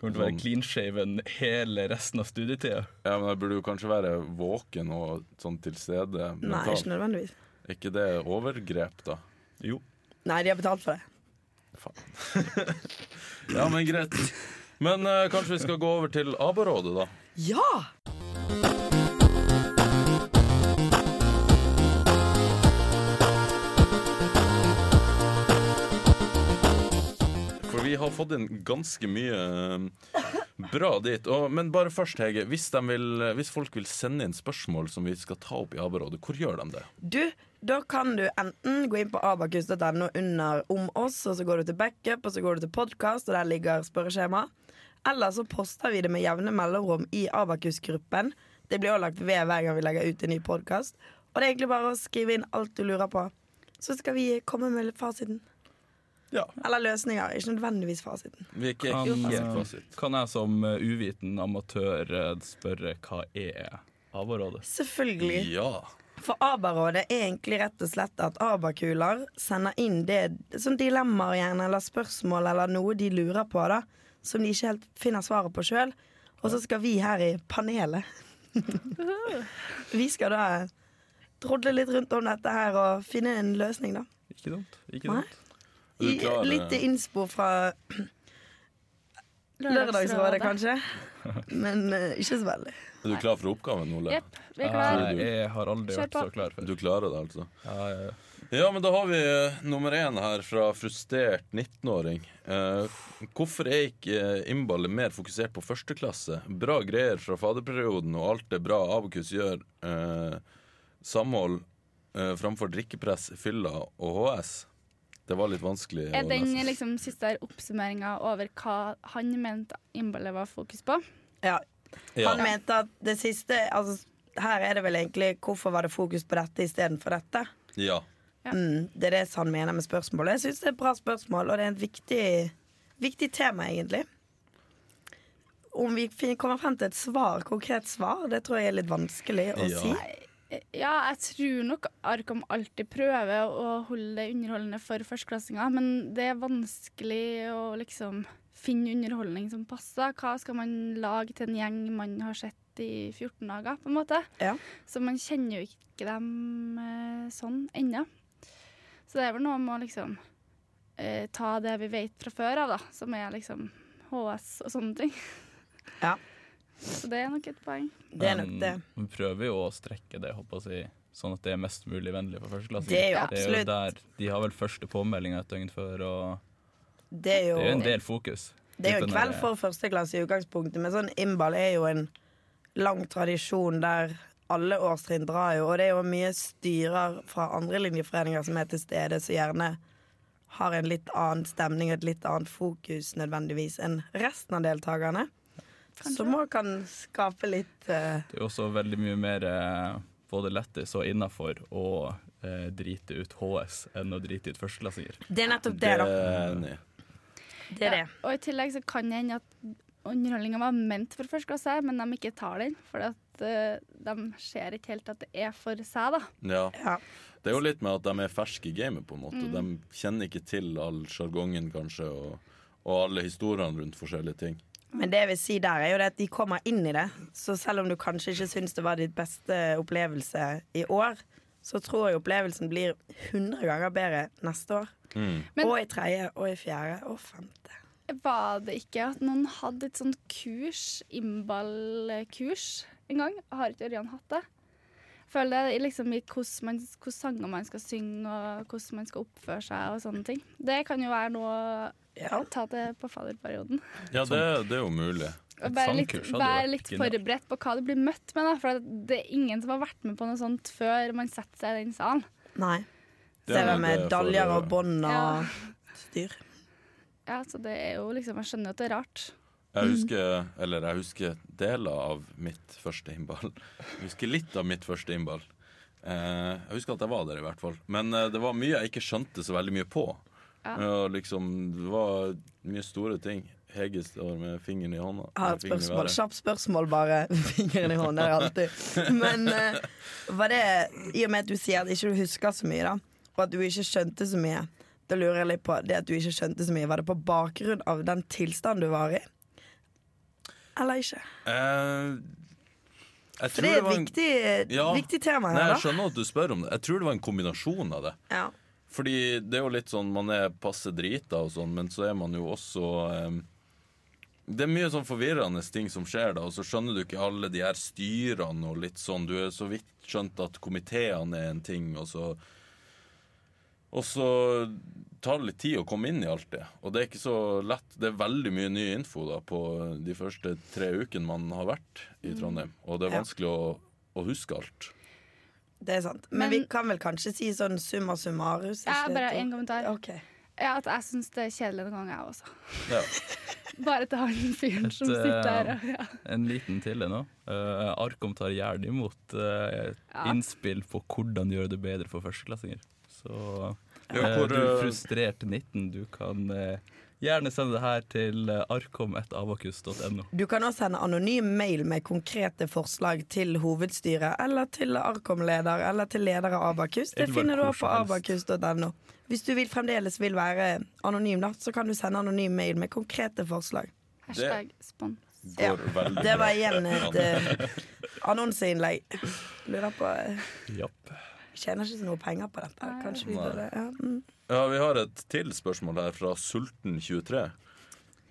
Speaker 2: Kommer til å være
Speaker 3: Sånn.
Speaker 2: clean shaven hele resten av studietida.
Speaker 3: Ja, men jeg burde jo kanskje være våken og sånn til stede
Speaker 4: Nei,
Speaker 3: mentalt.
Speaker 4: ikke nødvendigvis.
Speaker 3: ikke det overgrep, da?
Speaker 2: Jo.
Speaker 4: Nei, de har betalt for det.
Speaker 3: Ja, men greit. Men eh, kanskje vi skal gå over til ABBA-rådet, da.
Speaker 4: Ja!
Speaker 3: For vi har fått inn ganske mye eh, bra dit. Og, men bare først, Hege. Hvis, de vil, hvis folk vil sende inn spørsmål som vi skal ta opp i ABBA-rådet, hvor gjør de det?
Speaker 4: Du, da kan du enten gå inn på abakus.no under Om oss, og så går du til backup, og så går du til podkast, og der ligger spørreskjema. Eller så poster vi det med jevne mellomrom i Abakus-gruppen. Det blir også lagt ved hver gang vi legger ut en ny podkast. Og det er egentlig bare å skrive inn alt du lurer på. Så skal vi komme med fasiten.
Speaker 3: Ja.
Speaker 4: Eller løsninger. Ikke nødvendigvis fasiten.
Speaker 3: Vi er ikke
Speaker 2: Kan,
Speaker 3: helt
Speaker 1: altså,
Speaker 2: eh,
Speaker 3: fasit.
Speaker 2: kan jeg som eh, uviten amatør eh, spørre hva er ABBA-rådet?
Speaker 4: Selvfølgelig.
Speaker 3: Ja.
Speaker 4: For ABA-rådet er egentlig rett og slett at ABA-kuler sender inn det som dilemmaer gjerne, eller spørsmål eller noe de lurer på, da, som de ikke helt finner svaret på sjøl. Og så skal vi her i panelet Vi skal da drodle litt rundt om dette her og finne en løsning, da.
Speaker 2: Ikke dumt. Ikke
Speaker 4: Nei.
Speaker 2: dumt.
Speaker 3: Er du
Speaker 4: I,
Speaker 3: klar,
Speaker 4: litt
Speaker 3: eh?
Speaker 4: innspo fra Lørdagsrådet, kanskje. Men eh, ikke så veldig.
Speaker 3: Er du klar for oppgaven, Ole?
Speaker 1: Jepp, vi er klar.
Speaker 2: Jeg, jeg har aldri
Speaker 1: Kjør
Speaker 2: vært så
Speaker 1: på.
Speaker 2: klar før.
Speaker 3: Du klarer det, altså?
Speaker 2: Ja, ja.
Speaker 3: Ja, men da har vi eh, nummer én her fra frustrert 19-åring. Eh, hvorfor er ikke eh, innballet mer fokusert på første klasse? Bra greier fra faderperioden og alt det bra Abokus gjør. Eh, samhold eh, framfor drikkepress, fylla og HS. Det var litt vanskelig å
Speaker 1: Er den
Speaker 3: lese.
Speaker 1: liksom, siste oppsummeringa over hva han mente innballet var fokus på?
Speaker 4: Ja,
Speaker 3: Ja.
Speaker 4: Han mente at det siste altså, Her er det vel egentlig hvorfor var det fokus på dette istedenfor dette?
Speaker 3: ja.
Speaker 4: Mm, det er det han mener med spørsmålet. Jeg syns det er et bra spørsmål, og det er et viktig, viktig tema, egentlig. Om vi fin- kommer frem til et svar, konkret svar, det tror jeg er litt vanskelig å
Speaker 3: Ja.
Speaker 4: si.
Speaker 1: Ja, jeg tror nok Arkom alltid prøver å holde det underholdende for førsteklassinger, men det er vanskelig å liksom finne underholdning som passer. Hva skal man lage til en gjeng man har sett i 14 dager, på en måte?
Speaker 4: Ja.
Speaker 1: Så man kjenner jo ikke dem eh, sånn ennå. Så det er vel noe med å liksom eh, ta det vi vet fra før av, da, som er liksom HS og sånne ting.
Speaker 4: Ja.
Speaker 1: Så det er nok et poeng.
Speaker 4: Det er
Speaker 2: Um,
Speaker 4: nok det.
Speaker 2: Vi prøver jo å strekke det, håper jeg, å si, sånn at det er mest mulig vennlig for førsteklassinger.
Speaker 4: Det er jo absolutt-
Speaker 2: der, De har vel første påmelding et døgn før, og
Speaker 4: Det er
Speaker 2: det er jo en
Speaker 4: jo,
Speaker 2: del fokus. eh,
Speaker 4: det er jo en
Speaker 2: Litt den
Speaker 4: kveld
Speaker 2: der-
Speaker 4: for første klasse i utgangspunktet, men sånn innball er jo en lang tradisjon der alle årstrinn drar jo, og det er jo mye styrer fra andre linjeforeninger som er til stede, som gjerne har en litt annen stemning og et litt annet fokus nødvendigvis enn resten av deltakerne. Som òg kan skape litt eh,
Speaker 2: Det er jo også veldig mye mer eh, både lettis og innafor å eh, drite ut HS enn å drite ut førsteklassinger.
Speaker 4: Det er nettopp det, da.
Speaker 3: Enig.
Speaker 4: Det er det.
Speaker 1: Ja, og i tillegg så kan det hende at underholdninga var ment for første klasse, men de ikke tar den. For at eh, de ser ikke helt at det er for seg, da.
Speaker 3: Ja.
Speaker 4: Ja.
Speaker 3: Det er jo litt med at de er ferske i gamet, på en måte.
Speaker 1: Mm.
Speaker 3: De kjenner ikke til all sjargongen, kanskje, og, og alle historiene rundt forskjellige ting.
Speaker 4: Men det jeg vil si der er jo det at de kommer inn i det. Så selv om du kanskje ikke syns det var ditt beste opplevelse i år, så tror jeg opplevelsen blir 100 ganger bedre neste år.
Speaker 3: Mm.
Speaker 1: Men-
Speaker 4: og i tredje, og i fjerde, og femte.
Speaker 1: Var det ikke at noen hadde et sånt kurs, Imbal-kurs, en gang? Har ikke Ørjan hatt det? Føler det er liksom i hvordan man- hvordan sanger man skal synge, og hvordan man skal oppføre seg og sånne ting. Det kan jo være noe
Speaker 4: Ja.
Speaker 1: å ta det på fadderperioden.
Speaker 3: Ja, det, det er jo mulig.
Speaker 1: Og Være litt,
Speaker 2: sangkurs hadde
Speaker 1: vær
Speaker 2: vært
Speaker 1: litt
Speaker 2: genialt.
Speaker 1: forberedt på hva du blir møtt med, da. For det er ingen som har vært med på noe sånt før man setter seg i den salen.
Speaker 4: Nei.
Speaker 3: Det er
Speaker 4: Ser
Speaker 3: noe
Speaker 4: det med
Speaker 3: det får
Speaker 4: daljer
Speaker 3: du-
Speaker 4: og bånd og
Speaker 1: Ja.
Speaker 4: styr.
Speaker 1: Ja, så det er jo liksom Jeg skjønner jo at det er rart.
Speaker 3: Jeg husker, eller jeg husker deler av mitt første innball. Jeg husker litt av mitt første innball. Eh, jeg husker at jeg var der, i hvert fall. Men eh, det var mye jeg ikke skjønte så veldig mye på.
Speaker 1: Ja.
Speaker 3: Ja, liksom, det var mye store ting. Hege står med fingeren i hånda.
Speaker 4: Har et
Speaker 3: eller fingeren
Speaker 4: spørsmål.
Speaker 3: i været.
Speaker 4: Kjapt spørsmål, bare. Fingeren i hånda er alltid. Men eh, var det I og med at du sier at ikke du husker så mye, da, og at du ikke skjønte så mye, da lurer jeg litt på det at du ikke skjønte så mye, var det på bakgrunn av den tilstanden du var i? Eller ikke?
Speaker 3: Eh, jeg
Speaker 4: For det
Speaker 3: tror
Speaker 4: er
Speaker 3: var
Speaker 4: et
Speaker 3: en-
Speaker 4: viktig,
Speaker 3: Ja.
Speaker 4: viktig tema
Speaker 3: Nei,
Speaker 4: her,
Speaker 3: jeg
Speaker 4: da.
Speaker 3: skjønner at du spør om det. Jeg tror det var en kombinasjon av det.
Speaker 4: Ja.
Speaker 3: Fordi det er jo litt sånn man er passe drita og sånn, men så er man jo også eh, Det er mye sånn forvirrende ting som skjer da, og så skjønner du ikke alle de her styrene og litt sånn. Du er så vidt skjønt at komiteene er en ting, og så Og så tar det litt tid å komme inn i alt det. Og det er ikke så lett. Det er veldig mye ny info da på de første tre ukene man har vært i Trondheim, og det er
Speaker 4: Ja.
Speaker 3: vanskelig å, å huske alt.
Speaker 4: Det er sant. Men,
Speaker 1: Men-
Speaker 4: vi kan vel kanskje si sånn summa summarus?
Speaker 1: Jeg
Speaker 4: ikke
Speaker 1: bare
Speaker 4: det,
Speaker 1: en
Speaker 4: Tor?
Speaker 1: kommentar.
Speaker 4: Ok.
Speaker 1: Ja, at jeg syns det er kjedelig noen ganger, jeg også.
Speaker 3: Ja.
Speaker 1: Bare til han fyren som
Speaker 2: eh,
Speaker 1: sitter der og ja.
Speaker 2: En liten til nå. Eh, Arkom tar gjerne imot eh,
Speaker 1: Ja.
Speaker 2: innspill på hvordan gjøre det bedre for førsteklassinger. Så eh,
Speaker 3: Ja, hvor,
Speaker 2: du
Speaker 3: eh,
Speaker 2: frustrert 19, du kan eh, gjerne sende det her til eh, arkom.avakus.no.
Speaker 4: Du kan også sende anonym mail med konkrete forslag til hovedstyret, eller til Arkom-leder, eller til leder av Abakus. Det
Speaker 2: Eller
Speaker 4: finner du
Speaker 2: hvor
Speaker 4: også på
Speaker 2: som helst.
Speaker 4: abakus.no. Hvis du vil, fremdeles vil være anonym, da, så kan du sende anonym mail med konkrete forslag.
Speaker 1: Hashtag spons.
Speaker 4: Ja.
Speaker 3: Går veldig
Speaker 4: Det
Speaker 3: bra.
Speaker 4: var igjen et eh, annonseinnlegg. Lurer på eh,
Speaker 2: Japp.
Speaker 4: Tjener ikke så noe penger på dette. Kanskje vi
Speaker 3: Nei.
Speaker 4: burde ja. mm.
Speaker 3: Ja, Vi har et til spørsmål her fra Sulten23.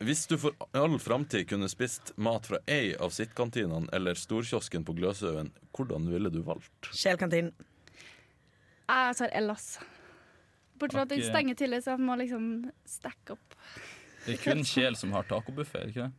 Speaker 3: Hvis du for all framtid kunne spist mat fra ei av sittkantinene eller storkiosken på Gløshaugen, hvordan ville du valgt?
Speaker 4: Sjelkantinen.
Speaker 1: Jeg tar Ellas. Bortsett fra at den
Speaker 2: Ok.
Speaker 1: stenger tidlig, så jeg må liksom stacke opp.
Speaker 2: Det er kun Kjel som har tacobuffé, er det ikke det?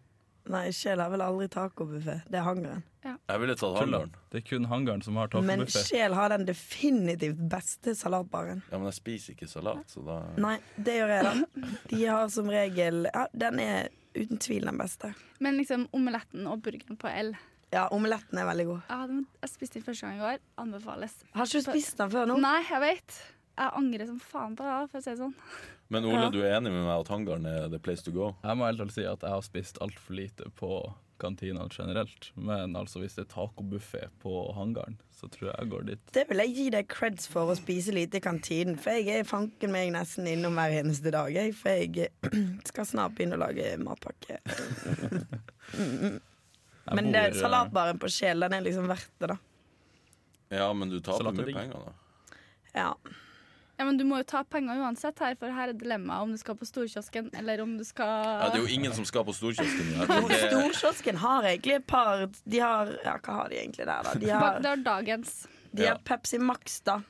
Speaker 4: Nei, Kjell har vel aldri tacobuffé. Det er hangeren.
Speaker 3: Jeg ville tatt
Speaker 2: Tulla.
Speaker 3: hangaren.
Speaker 2: Det er kun hangaren som har
Speaker 4: Men
Speaker 2: tacobuffé.
Speaker 4: Kjell har den definitivt beste salatbaren.
Speaker 3: Ja, men jeg spiser ikke salat, så da
Speaker 4: Nei, det gjør jeg da. De har som regel ja, Den er uten tvil den beste.
Speaker 1: Men liksom omeletten og burgeren på L.
Speaker 4: Ja, omeletten er veldig god.
Speaker 1: Jeg, hadde, jeg spiste den første gang i går. Anbefales.
Speaker 4: Har ikke du spist den før nå?
Speaker 1: Nei, jeg vet. Jeg angrer som faen på det, for å si det sånn.
Speaker 3: Men Ole,
Speaker 4: Ja.
Speaker 3: du er enig med meg at hangaren er the place to go?
Speaker 2: Jeg må helt ærlig si at jeg har spist altfor lite på kantina generelt. Men altså hvis det er tacobuffé på hangaren, så tror jeg jeg går dit.
Speaker 4: Det vil jeg gi deg creds for å spise lite i kantinen, for jeg er fanken meg nesten innom hver eneste dag, jeg, for jeg skal snart begynne å lage matpakke.
Speaker 2: Jeg
Speaker 4: Men det,
Speaker 2: bor, eh,
Speaker 4: salatbaren på Sjel, den er liksom verdt det, da.
Speaker 3: Ja, men du taper
Speaker 2: Salat er
Speaker 3: mye
Speaker 2: digg.
Speaker 3: penger, da.
Speaker 4: Ja.
Speaker 1: Ja, men du må jo ta penger uansett her, for her er dilemmaet om du skal på storkiosken, eller om du
Speaker 3: Ja,
Speaker 1: skal
Speaker 3: det er jo ingen som skal på storkiosken. i hvert
Speaker 4: Jo,
Speaker 3: fall. Det-
Speaker 4: Storkiosken har egentlig et par De har Ja, hva har de egentlig der, da? De
Speaker 1: Bak-
Speaker 4: har,
Speaker 1: Det er dagens.
Speaker 4: de har Pepsi Max, da.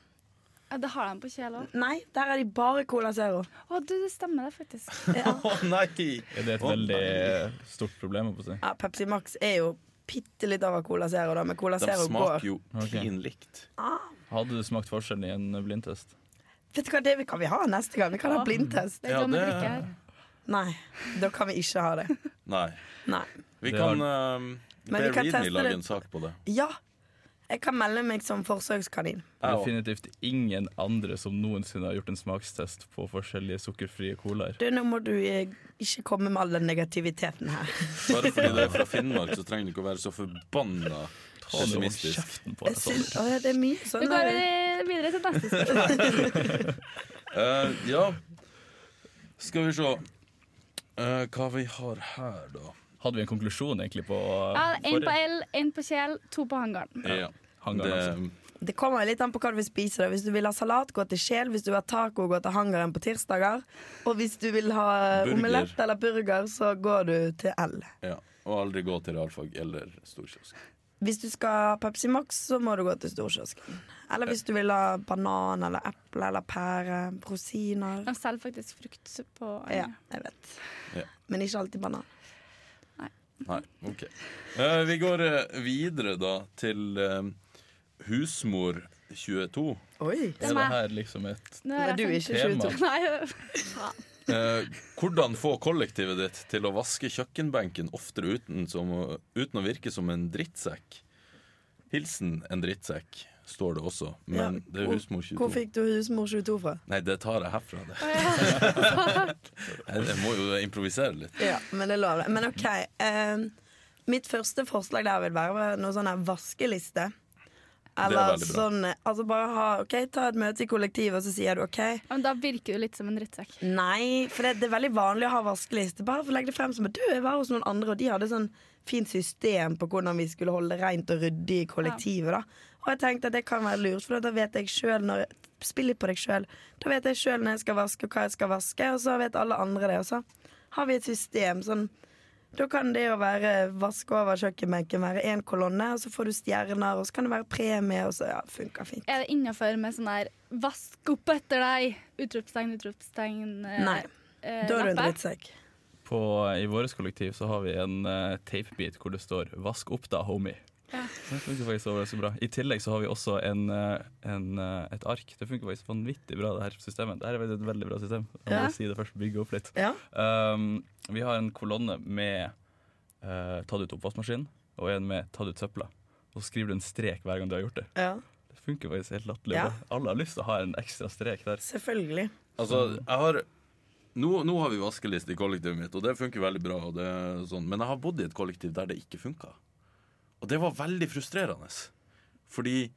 Speaker 1: Ja, det har de på Kjel òg.
Speaker 4: Nei, der er de bare Cola Zero.
Speaker 1: Å, du, det stemmer det, faktisk.
Speaker 4: Ja.
Speaker 3: Å nei!
Speaker 2: Er det et veldig stort problem? holdt på å si?
Speaker 4: Ja, Pepsi Max er jo bitte litt over Cola Zero, da, men Cola
Speaker 3: De
Speaker 4: Zero
Speaker 3: smaker
Speaker 4: går.
Speaker 3: jo
Speaker 2: Ok.
Speaker 3: klin likt.
Speaker 2: Hadde du smakt forskjellen i en blindtest?
Speaker 4: Vet du hva, det kan vi ha neste gang. Vi kan ha
Speaker 1: Ja.
Speaker 4: blindtest.
Speaker 1: Det er
Speaker 3: Ja,
Speaker 1: ja, det...
Speaker 3: det-
Speaker 1: drikke her.
Speaker 4: Nei, da kan vi ikke ha det.
Speaker 3: Nei.
Speaker 4: Nei.
Speaker 3: Vi
Speaker 2: Det
Speaker 3: kan eh,
Speaker 4: Men vi
Speaker 3: Bear
Speaker 4: kan
Speaker 3: Readme
Speaker 4: teste
Speaker 3: lage
Speaker 4: det.
Speaker 3: en sak på det.
Speaker 4: Ja, jeg kan melde meg som forsøkskanin.
Speaker 3: Jeg også.
Speaker 2: Definitivt ingen andre som noensinne har gjort en smakstest på forskjellige sukkerfrie colaer.
Speaker 4: Du, nå må du eh, ikke komme med all den negativiteten her.
Speaker 3: Bare fordi det er fra Finnmark, så trenger du ikke å være så forbanna
Speaker 2: Ta nå
Speaker 3: pessimistisk.
Speaker 2: kjeften på
Speaker 4: Jeg
Speaker 2: deg, altså.
Speaker 4: syns,
Speaker 2: Sander.
Speaker 4: å, ja, det er mye
Speaker 1: Da
Speaker 4: sånn
Speaker 1: går vi videre til neste spørsmål.
Speaker 3: Eh, ja, skal vi se Eh, Hva vi har her, da?
Speaker 2: Hadde vi en konklusjon egentlig på
Speaker 1: Ja,
Speaker 2: eh,
Speaker 1: Én på
Speaker 2: forrige?
Speaker 1: L, én på Kjel, to på hangaren.
Speaker 3: Ja,
Speaker 2: Hangaren,
Speaker 3: det,
Speaker 2: altså.
Speaker 4: Det kommer litt an på hva du vil spise. Da. Hvis du vil ha salat, gå til Sjel. Hvis du vil ha taco, gå til hangaren på tirsdager. Og hvis du vil ha
Speaker 3: Burger.
Speaker 4: omelett eller burger, så går du til L.
Speaker 3: ja. Og aldri gå til realfag eller storkiosk.
Speaker 4: Hvis du skal ha Pepsi Max, så må du gå til storkiosken. Eller hvis du vil ha banan eller eple eller pære, rosiner
Speaker 1: De selger faktisk frukt på
Speaker 4: Ja,
Speaker 1: Anja.
Speaker 4: jeg vet.
Speaker 3: Ja.
Speaker 4: Men ikke alltid banan.
Speaker 3: Nei, OK. Eh, vi går eh, videre, da, til eh, husmor 22.
Speaker 4: Oi!
Speaker 1: Det
Speaker 2: Er
Speaker 1: er
Speaker 2: det
Speaker 1: meg.
Speaker 2: her liksom et
Speaker 1: Nå
Speaker 4: Men
Speaker 1: er
Speaker 4: du er
Speaker 1: jeg sånn
Speaker 4: ikke
Speaker 2: Tema.
Speaker 4: 22.
Speaker 1: Nei,
Speaker 3: Eh, hvordan få kollektivet ditt til å vaske kjøkkenbenken oftere uten, som, å- uten å virke som en drittsekk? Hilsen en drittsekk, står det også. Men
Speaker 4: Ja,
Speaker 3: det er
Speaker 4: hvor-
Speaker 3: husmor 22.
Speaker 4: Hvor fikk du husmor 22 fra?
Speaker 3: Nei, det tar jeg herfra. Det. Jeg, jeg må jo improvisere litt.
Speaker 4: Ja, men det lover det. Men OK. eh, mitt første forslag der vil være noe sånn her vaskeliste. Eller
Speaker 3: veldig bra.
Speaker 4: sånn Altså bare ha OK, ta et møte i kollektivet, og så sier du OK.
Speaker 1: Men da virker du litt som en drittsekk.
Speaker 4: Nei, for det, det er veldig vanlig å ha vaskeliste. Bare for å legge det frem som at du jeg var hos noen andre, og de hadde sånn fint system på hvordan vi skulle holde det rent og ryddig i kollektivet. da Og jeg tenkte at det kan være lurt, for da vet jeg sjøl når Spill litt på deg sjøl. Da vet jeg sjøl når jeg skal vaske, og hva jeg skal vaske, og så vet alle andre det. Og så har vi et system sånn da kan det å være vaske over kjøkkenbenken være én kolonne, og så får du stjerner, og så kan det være premie, og så ja, funker fint.
Speaker 1: Er det innafor med sånn der 'vask opp etter deg'? Utropstegn, utropstegn. eh,
Speaker 4: Nei, da er
Speaker 1: eh,
Speaker 4: du en
Speaker 1: lappe.
Speaker 4: drittsekk.
Speaker 2: på, I vårt kollektiv så har vi en eh, teipbit hvor det står 'Vask opp da, homie'.
Speaker 1: Ja.
Speaker 2: Det funker faktisk overraskende bra. I tillegg så har vi også en, eh, en, eh, et ark. Det funker faktisk vanvittig bra, det her systemet. Det her er veldig- et veldig bra system. Jeg må
Speaker 4: Ja.
Speaker 2: si det først, bygge opp litt.
Speaker 4: Ja.
Speaker 2: Um, vi har en kolonne med eh, 'ta det ut oppvaskmaskinen' og en med 'ta det ut søpla'. Og så skriver du en strek hver gang du har gjort det.
Speaker 4: ja.
Speaker 2: Det funker faktisk helt latterlig
Speaker 4: Ja.
Speaker 2: bra. Alle har lyst til å ha en ekstra strek der.
Speaker 4: Selvfølgelig.
Speaker 3: Altså, jeg har nå, nå har vi vaskeliste i kollektivet mitt, og det funker veldig bra. Og det er sånn. Men jeg har bodd i et kollektiv der det ikke funka. Og det var veldig frustrerende. Fordi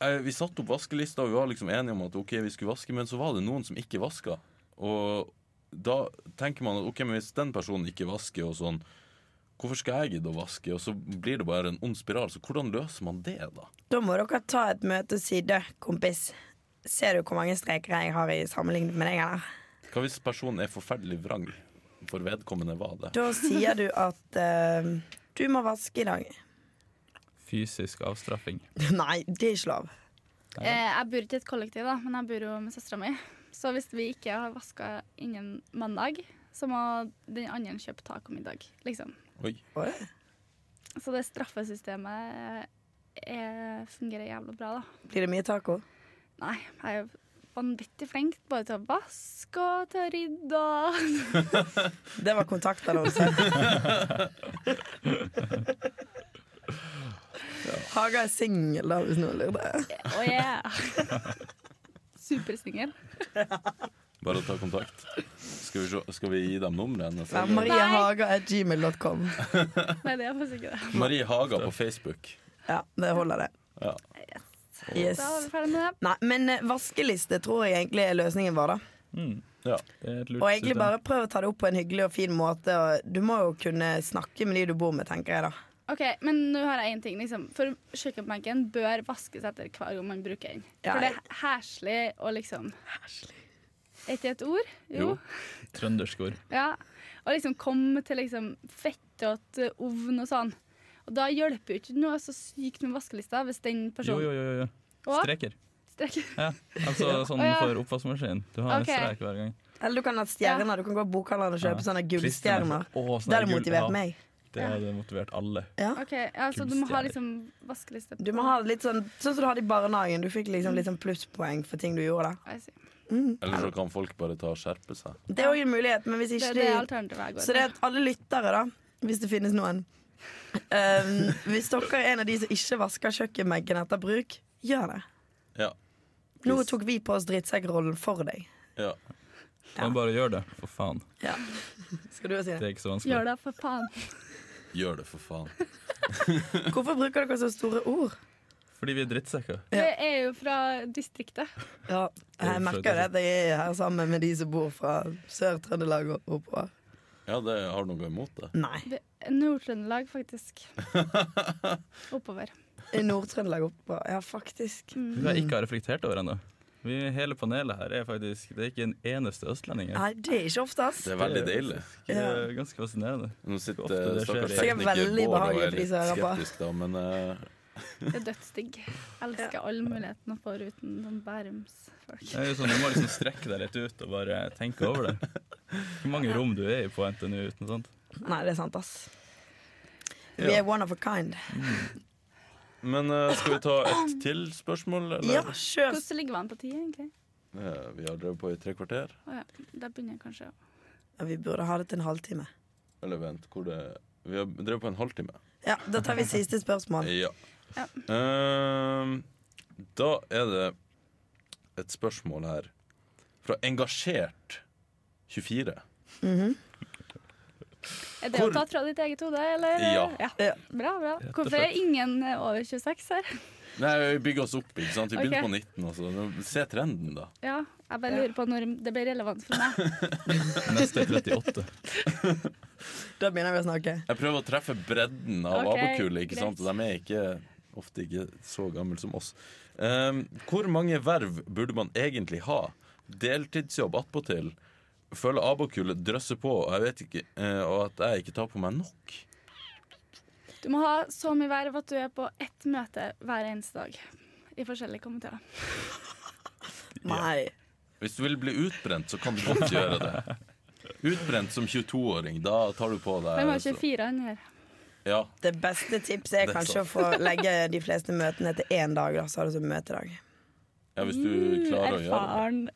Speaker 3: eh, vi satte opp vaskelista, og vi var liksom enige om at ok, vi skulle vaske, men så var det noen som ikke vaska. Og da tenker man at ok, men hvis den personen ikke vasker, og sånn Hvorfor skal jeg gidde å vaske? Og så blir det bare en ond spiral. Så hvordan løser man det, da?
Speaker 4: Da må dere ta et møte og si du, kompis. Ser du hvor mange streker jeg har i sammenlignet med deg, eller?
Speaker 3: Hva hvis personen er forferdelig vrang? For vedkommende var det.
Speaker 4: Da sier du at eh, du må vaske i dag.
Speaker 2: Fysisk avstraffing.
Speaker 4: Nei, det er ikke lov.
Speaker 1: Eh, jeg bor ikke i et kollektiv, da, men jeg bor jo med søstera mi. Så hvis vi ikke har vaska innen mandag, så må den andre kjøpe tacomiddag. Liksom.
Speaker 3: Oi.
Speaker 4: Oi.
Speaker 1: Så det straffesystemet eh, fungerer jævla bra, da.
Speaker 4: Blir det mye taco?
Speaker 1: Nei, jeg er jo vanvittig flink både til å vaske og til å rydde og
Speaker 4: Det var kontaktannonse. Haga er singel, da, hvis noen lurer på det.
Speaker 1: Å yeah! Supersingel.
Speaker 3: Bare ta kontakt. Skal vi, se, skal vi gi dem nummeret hennes?
Speaker 4: Ja,
Speaker 3: eller?
Speaker 4: MarieHaga.gmail.com.
Speaker 1: Nei, det er faktisk ikke det.
Speaker 3: Marie Haga på Facebook.
Speaker 4: Ja, det holder, det.
Speaker 3: Ja.
Speaker 4: Yes.
Speaker 1: Da var vi ferdig med det.
Speaker 4: Nei, men eh, vaskeliste tror jeg egentlig er løsningen vår, da.
Speaker 2: Mm.
Speaker 3: Ja.
Speaker 2: Det er et lurt
Speaker 4: Og egentlig
Speaker 2: system.
Speaker 4: bare prøv å ta det opp på en hyggelig og fin måte. Og du må jo kunne snakke med de du bor med, tenker jeg da.
Speaker 1: Ok, men nå har jeg en ting liksom. For kjøkkenbenken bør vaskes etter hver gang man bruker den
Speaker 4: Ja,
Speaker 1: For det er herselig og liksom Er ikke det et ord?
Speaker 3: Jo.
Speaker 2: Trøndersk ord.
Speaker 1: Ja Og liksom komme til liksom fettete ovn og sånn Og da hjelper jo ikke noe så sykt med vaskelista Hvis den
Speaker 2: Jo,
Speaker 1: personen
Speaker 2: jo, jo. jo.
Speaker 1: Å,
Speaker 2: Streker.
Speaker 1: strekker.
Speaker 2: Ja. Altså sånn
Speaker 1: Å, ja.
Speaker 2: for oppvaskmaskinen. Du har
Speaker 1: Ok.
Speaker 2: en strek hver gang.
Speaker 4: Eller du kan ha stjerner. Du kan gå på bokhandelen og kjøpe
Speaker 2: Ja.
Speaker 4: sånne gullstjerner.
Speaker 2: Klister- Å, sånne
Speaker 4: Det hadde
Speaker 2: gull-
Speaker 4: motivert
Speaker 2: ja.
Speaker 4: meg.
Speaker 2: Det hadde motivert alle.
Speaker 4: Ja.
Speaker 1: OK, ja, så du må ha liksom vaskeliste på
Speaker 4: Du må ha det litt sånn Sånn som du hadde i barnehagen. Du fikk liksom litt sånn plusspoeng for ting du gjorde. da
Speaker 1: I see.
Speaker 3: Eller så kan folk bare ta og skjerpe seg.
Speaker 4: Det er òg en mulighet, men hvis
Speaker 1: Det,
Speaker 4: ikke
Speaker 1: det er
Speaker 4: de-
Speaker 1: alternativet jeg går
Speaker 4: Så det er at alle lyttere, da, hvis det finnes noen ehm, Hvis dere er en av de som ikke vasker kjøkkenbenken etter bruk, gjør det.
Speaker 3: Ja.
Speaker 4: Nå tok vi på oss drittsekkrollen for deg.
Speaker 3: ja.
Speaker 2: Men bare gjør det, for faen.
Speaker 4: Skal du også si
Speaker 2: Det
Speaker 4: det?
Speaker 2: er ikke så
Speaker 1: med.
Speaker 2: vanskelig.
Speaker 1: Gjør det, for faen.
Speaker 3: Gjør det, for faen.
Speaker 4: Hvorfor bruker dere så store ord?
Speaker 2: Fordi vi er drittsekker.
Speaker 1: Det er jo fra distriktet.
Speaker 4: Ja, Jeg merker det at jeg er her sammen med de som bor fra Sør-Trøndelag og oppover.
Speaker 3: Ja, det har du noe imot det.
Speaker 4: Nei,
Speaker 1: Det- Nord-Trøndelag, faktisk. Oppover.
Speaker 4: i Nord-Trøndelag oppover. Ja, faktisk.
Speaker 2: Det har jeg ikke har reflektert over ennå. Vi- Hele panelet her er faktisk Det er ikke en eneste østlending her.
Speaker 4: Nei, det er ikke ofte, ass.
Speaker 3: Det er veldig deilig.
Speaker 2: Det er ganske fascinerende.
Speaker 3: Nå
Speaker 2: Ofte
Speaker 3: sitter
Speaker 2: det skjer
Speaker 3: stakkars
Speaker 2: det.
Speaker 4: Sikkert
Speaker 3: tekniker
Speaker 4: veldig
Speaker 3: Bård og
Speaker 4: behagelig
Speaker 3: er
Speaker 4: for de
Speaker 3: litt
Speaker 4: som hører på.
Speaker 3: skeptisk, da, men eh,
Speaker 1: Det er dødsdigg. Elsker alle mulighetene man får uten sånn Bærums-folk.
Speaker 2: Det er jo sånn, Du må liksom strekke deg litt ut og bare tenke over det. Hvor mange rom du er i på NTNU uten sånt.
Speaker 4: Nei, det er sant, ass. Vi
Speaker 3: Ja.
Speaker 4: er one of a kind.
Speaker 3: Men eh, skal vi ta et til spørsmål, eller?
Speaker 4: Ja, kjør.
Speaker 1: Hvordan ligger man på tid, egentlig?
Speaker 3: Eh, vi har drevet på i tre kvarter.
Speaker 1: Å ja, da begynner jeg kanskje å
Speaker 4: Ja, Vi burde ha det til en halvtime.
Speaker 3: Eller vent, hvor det Vi har drevet på en halvtime.
Speaker 4: Ja, Da tar vi siste spørsmål.
Speaker 3: Ja.
Speaker 1: Ja.
Speaker 3: Ehm, da er det et spørsmål her fra Engasjert24.
Speaker 4: Mhm.
Speaker 1: Er det å
Speaker 3: Hvor-
Speaker 1: ta fra ditt eget hode, eller?
Speaker 3: Ja.
Speaker 4: Ja.
Speaker 1: Bra, bra.
Speaker 2: og
Speaker 1: Hvorfor er ingen eh, over 26 her?
Speaker 3: Nei, vi bygger oss opp, ikke sant? Vi
Speaker 1: Ok.
Speaker 3: begynner på 19, altså. Nå- Se trenden, da.
Speaker 1: Ja, jeg bare lurer på når det blir relevant for meg.
Speaker 2: Neste er 38.
Speaker 4: Da begynner vi å snakke.
Speaker 3: Jeg prøver å treffe bredden av
Speaker 1: Ok,
Speaker 3: abakulet, ikke sant?
Speaker 1: greit.
Speaker 3: De er ikke, ofte ikke så gamle som oss. Ehm, hvor mange verv burde man egentlig ha? Deltidsjobb attpåtil. Føler abakulet drøsser på, og, jeg vet ikke, eh, og at jeg ikke tar på meg nok.
Speaker 1: Du må ha så mye verv at du er på ett møte hver eneste dag. I forskjellige komiteer.
Speaker 4: Nei.
Speaker 3: Hvis du vil bli utbrent, så kan du godt gjøre det. Utbrent som 22-åring, da tar du på deg
Speaker 1: Hvem har
Speaker 3: så-
Speaker 1: 24 han her?
Speaker 3: Ja,
Speaker 4: Det beste tipset er
Speaker 3: Det er
Speaker 4: kanskje å få legge de fleste møtene til én dag, da, så har du som møtedag.
Speaker 3: ja, hvis
Speaker 1: Mm,
Speaker 3: du klarer å gjøre det.
Speaker 1: Erfaren.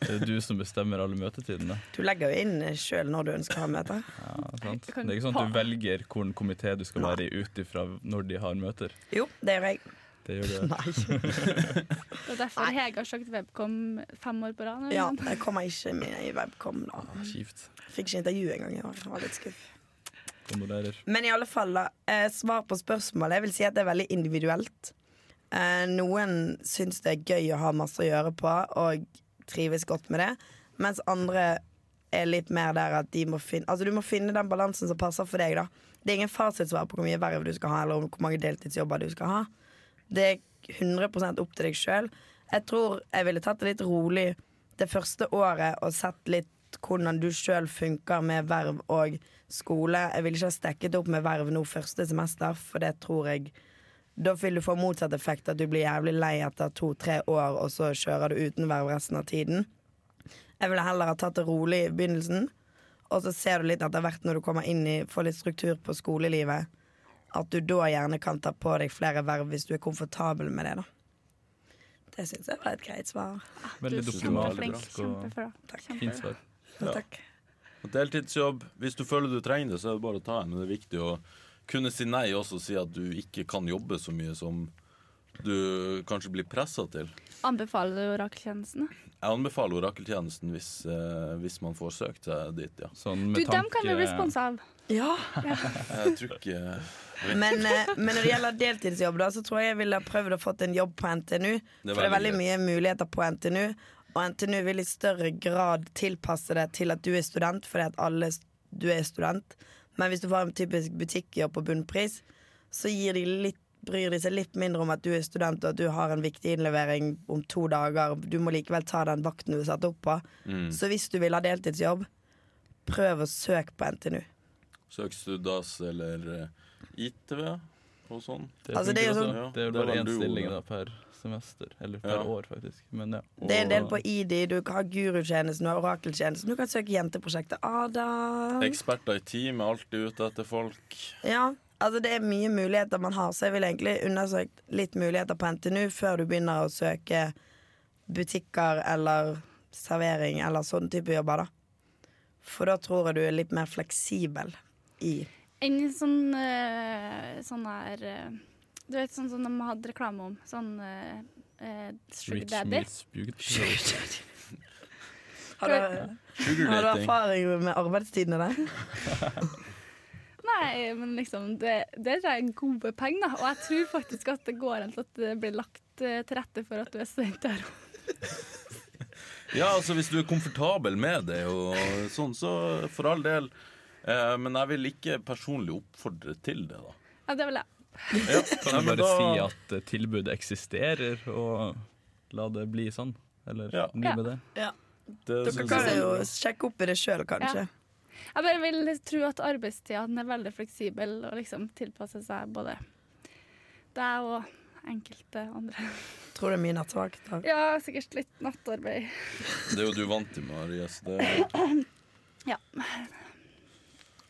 Speaker 2: Det er du som bestemmer alle møtetidene.
Speaker 4: Du legger jo inn sjøl når du ønsker å ha møter.
Speaker 2: Ja, sant? Det er ikke sånn at du velger hvilken komité du skal være i ut ifra når de har møter.
Speaker 4: Jo, det gjør jeg.
Speaker 2: Det gjør du.
Speaker 4: Nei.
Speaker 1: Det er derfor Hege har søkt Webcom fem år på rad. eller
Speaker 4: Ja,
Speaker 1: noe sånt.
Speaker 4: jeg kommer ikke med i Webcom, da.
Speaker 2: Kjipt.
Speaker 4: Fikk ikke intervju engang i år. Jeg var litt skuff.
Speaker 2: Kondolerer.
Speaker 4: Men i alle fall, da. eh, Svar på spørsmålet. Jeg vil si at det er veldig individuelt. Eh, Noen syns det er gøy å ha masse å gjøre på og trives godt med det, mens andre er litt mer der at de må finne Altså, du må finne den balansen som passer for deg, da. Det er ingen fasitsvar på hvor mye verv du skal ha, eller om hvor mange deltidsjobber du skal ha. Det er 100 opp til deg sjøl. Jeg tror jeg ville tatt det litt rolig det første året og sett litt hvordan du sjøl funker med verv og skole. Jeg ville ikke ha stekket opp med verv nå første semester, for det tror jeg Da vil du få motsatt effekt, at du blir jævlig lei etter to-tre år, og så kjører du uten verv resten av tiden. Jeg ville heller ha tatt det rolig i begynnelsen, og så ser du litt etter hvert når du kommer inn i får litt struktur på skolelivet, at du da gjerne kan ta på deg flere verv hvis du er komfortabel med det, da. Det syns jeg var et greit svar.
Speaker 1: Du
Speaker 2: Veldig
Speaker 1: er
Speaker 2: diplomatisk
Speaker 1: kjempeflink.
Speaker 2: og
Speaker 1: Kjempebra.
Speaker 4: Takk.
Speaker 2: fint svar.
Speaker 3: Ja.
Speaker 4: Takk.
Speaker 3: Deltidsjobb. Hvis du føler du trenger det, så er det bare å ta en. Men det er viktig å kunne si nei også, og si at du ikke kan jobbe så mye som du kanskje blir pressa til.
Speaker 1: Anbefaler du orakeltjenestene?
Speaker 3: Jeg anbefaler orakeltjenesten hvis, eh, hvis man får søkt seg dit, ja.
Speaker 2: Sånn
Speaker 1: Du,
Speaker 2: med
Speaker 1: dem kan du bli
Speaker 2: tanke
Speaker 1: sponsa av.
Speaker 4: Ja.
Speaker 3: Jeg tror ikke
Speaker 4: Men, eh, men når det gjelder deltidsjobb, da, så tror jeg jeg ville ha prøvd å fått en jobb på NTNU.
Speaker 3: Det er
Speaker 4: for det er
Speaker 3: veldig
Speaker 4: veldig mye muligheter på NTNU, og NTNU vil i større grad tilpasse det til at du er student, fordi at alle s- du er student. Men hvis du får en typisk butikkjobb på bunnpris, så gir de litt bryr de seg litt mindre om at du er student og at du har en viktig innlevering om to dager. Du må likevel ta den vakten du er satt opp på.
Speaker 3: Mm.
Speaker 4: Så hvis du vil ha deltidsjobb, prøv å søke på NTNU.
Speaker 3: Søk Studas eller eh, ITV og sånn.
Speaker 2: Det
Speaker 4: Altså, det er jo
Speaker 2: funker
Speaker 3: sånn-
Speaker 4: Altså,
Speaker 2: også. Det er jo
Speaker 3: Det
Speaker 2: bare
Speaker 3: var
Speaker 2: én
Speaker 3: du,
Speaker 2: stilling
Speaker 3: Ole.
Speaker 2: da per semester. Eller per
Speaker 3: Ja.
Speaker 2: år, faktisk. Men ja.
Speaker 4: Det er en del
Speaker 2: Og-
Speaker 4: på ID. Du kan ha gurutjenesten, du har orakeltjenesten. Du kan søke jenteprosjektet Ada.
Speaker 3: Eksperter i team er alltid ute etter folk.
Speaker 4: Ja, altså det er mye muligheter man har, så jeg vil egentlig undersøkt litt muligheter på NTNU før du begynner å søke butikker eller servering eller sånn type jobber, da. For da tror jeg du er litt mer fleksibel i
Speaker 1: Enn sånn eh, sånn her eh, Du vet sånn som de hadde reklame om. Sånn eh, eh, Sugar
Speaker 2: Rich
Speaker 1: Daddy.
Speaker 2: meets beauty.
Speaker 4: Har du, har du
Speaker 3: Sugardating.
Speaker 4: erfaring med arbeidstidene der?
Speaker 1: Nei, men liksom det, det tror jeg er gode penger, da. Og jeg tror faktisk at det går an til at det blir lagt eh, til rette for at du er student der òg.
Speaker 3: Ja, altså hvis du er komfortabel med det og sånn, så for all del. Eh, men jeg vil ikke personlig oppfordre til det, da.
Speaker 1: Ja, det vil jeg.
Speaker 3: Nei,
Speaker 2: Kan du
Speaker 3: men
Speaker 2: bare
Speaker 3: da-
Speaker 2: si at eh, tilbudet eksisterer, og la det bli sånn? Eller
Speaker 3: Ja.
Speaker 2: bli med det? eh,
Speaker 3: Det
Speaker 4: Dere
Speaker 3: synes
Speaker 4: kan
Speaker 3: jeg-
Speaker 4: jo sjekke opp i det sjøl, kanskje.
Speaker 1: Jeg bare vil tro at arbeidstida den er veldig fleksibel og liksom tilpasser seg både deg og enkelte andre.
Speaker 4: Tror det er mye nattvakter.
Speaker 1: Ja, sikkert litt nattarbeid.
Speaker 3: Det er jo du vant til, Marie. Så det,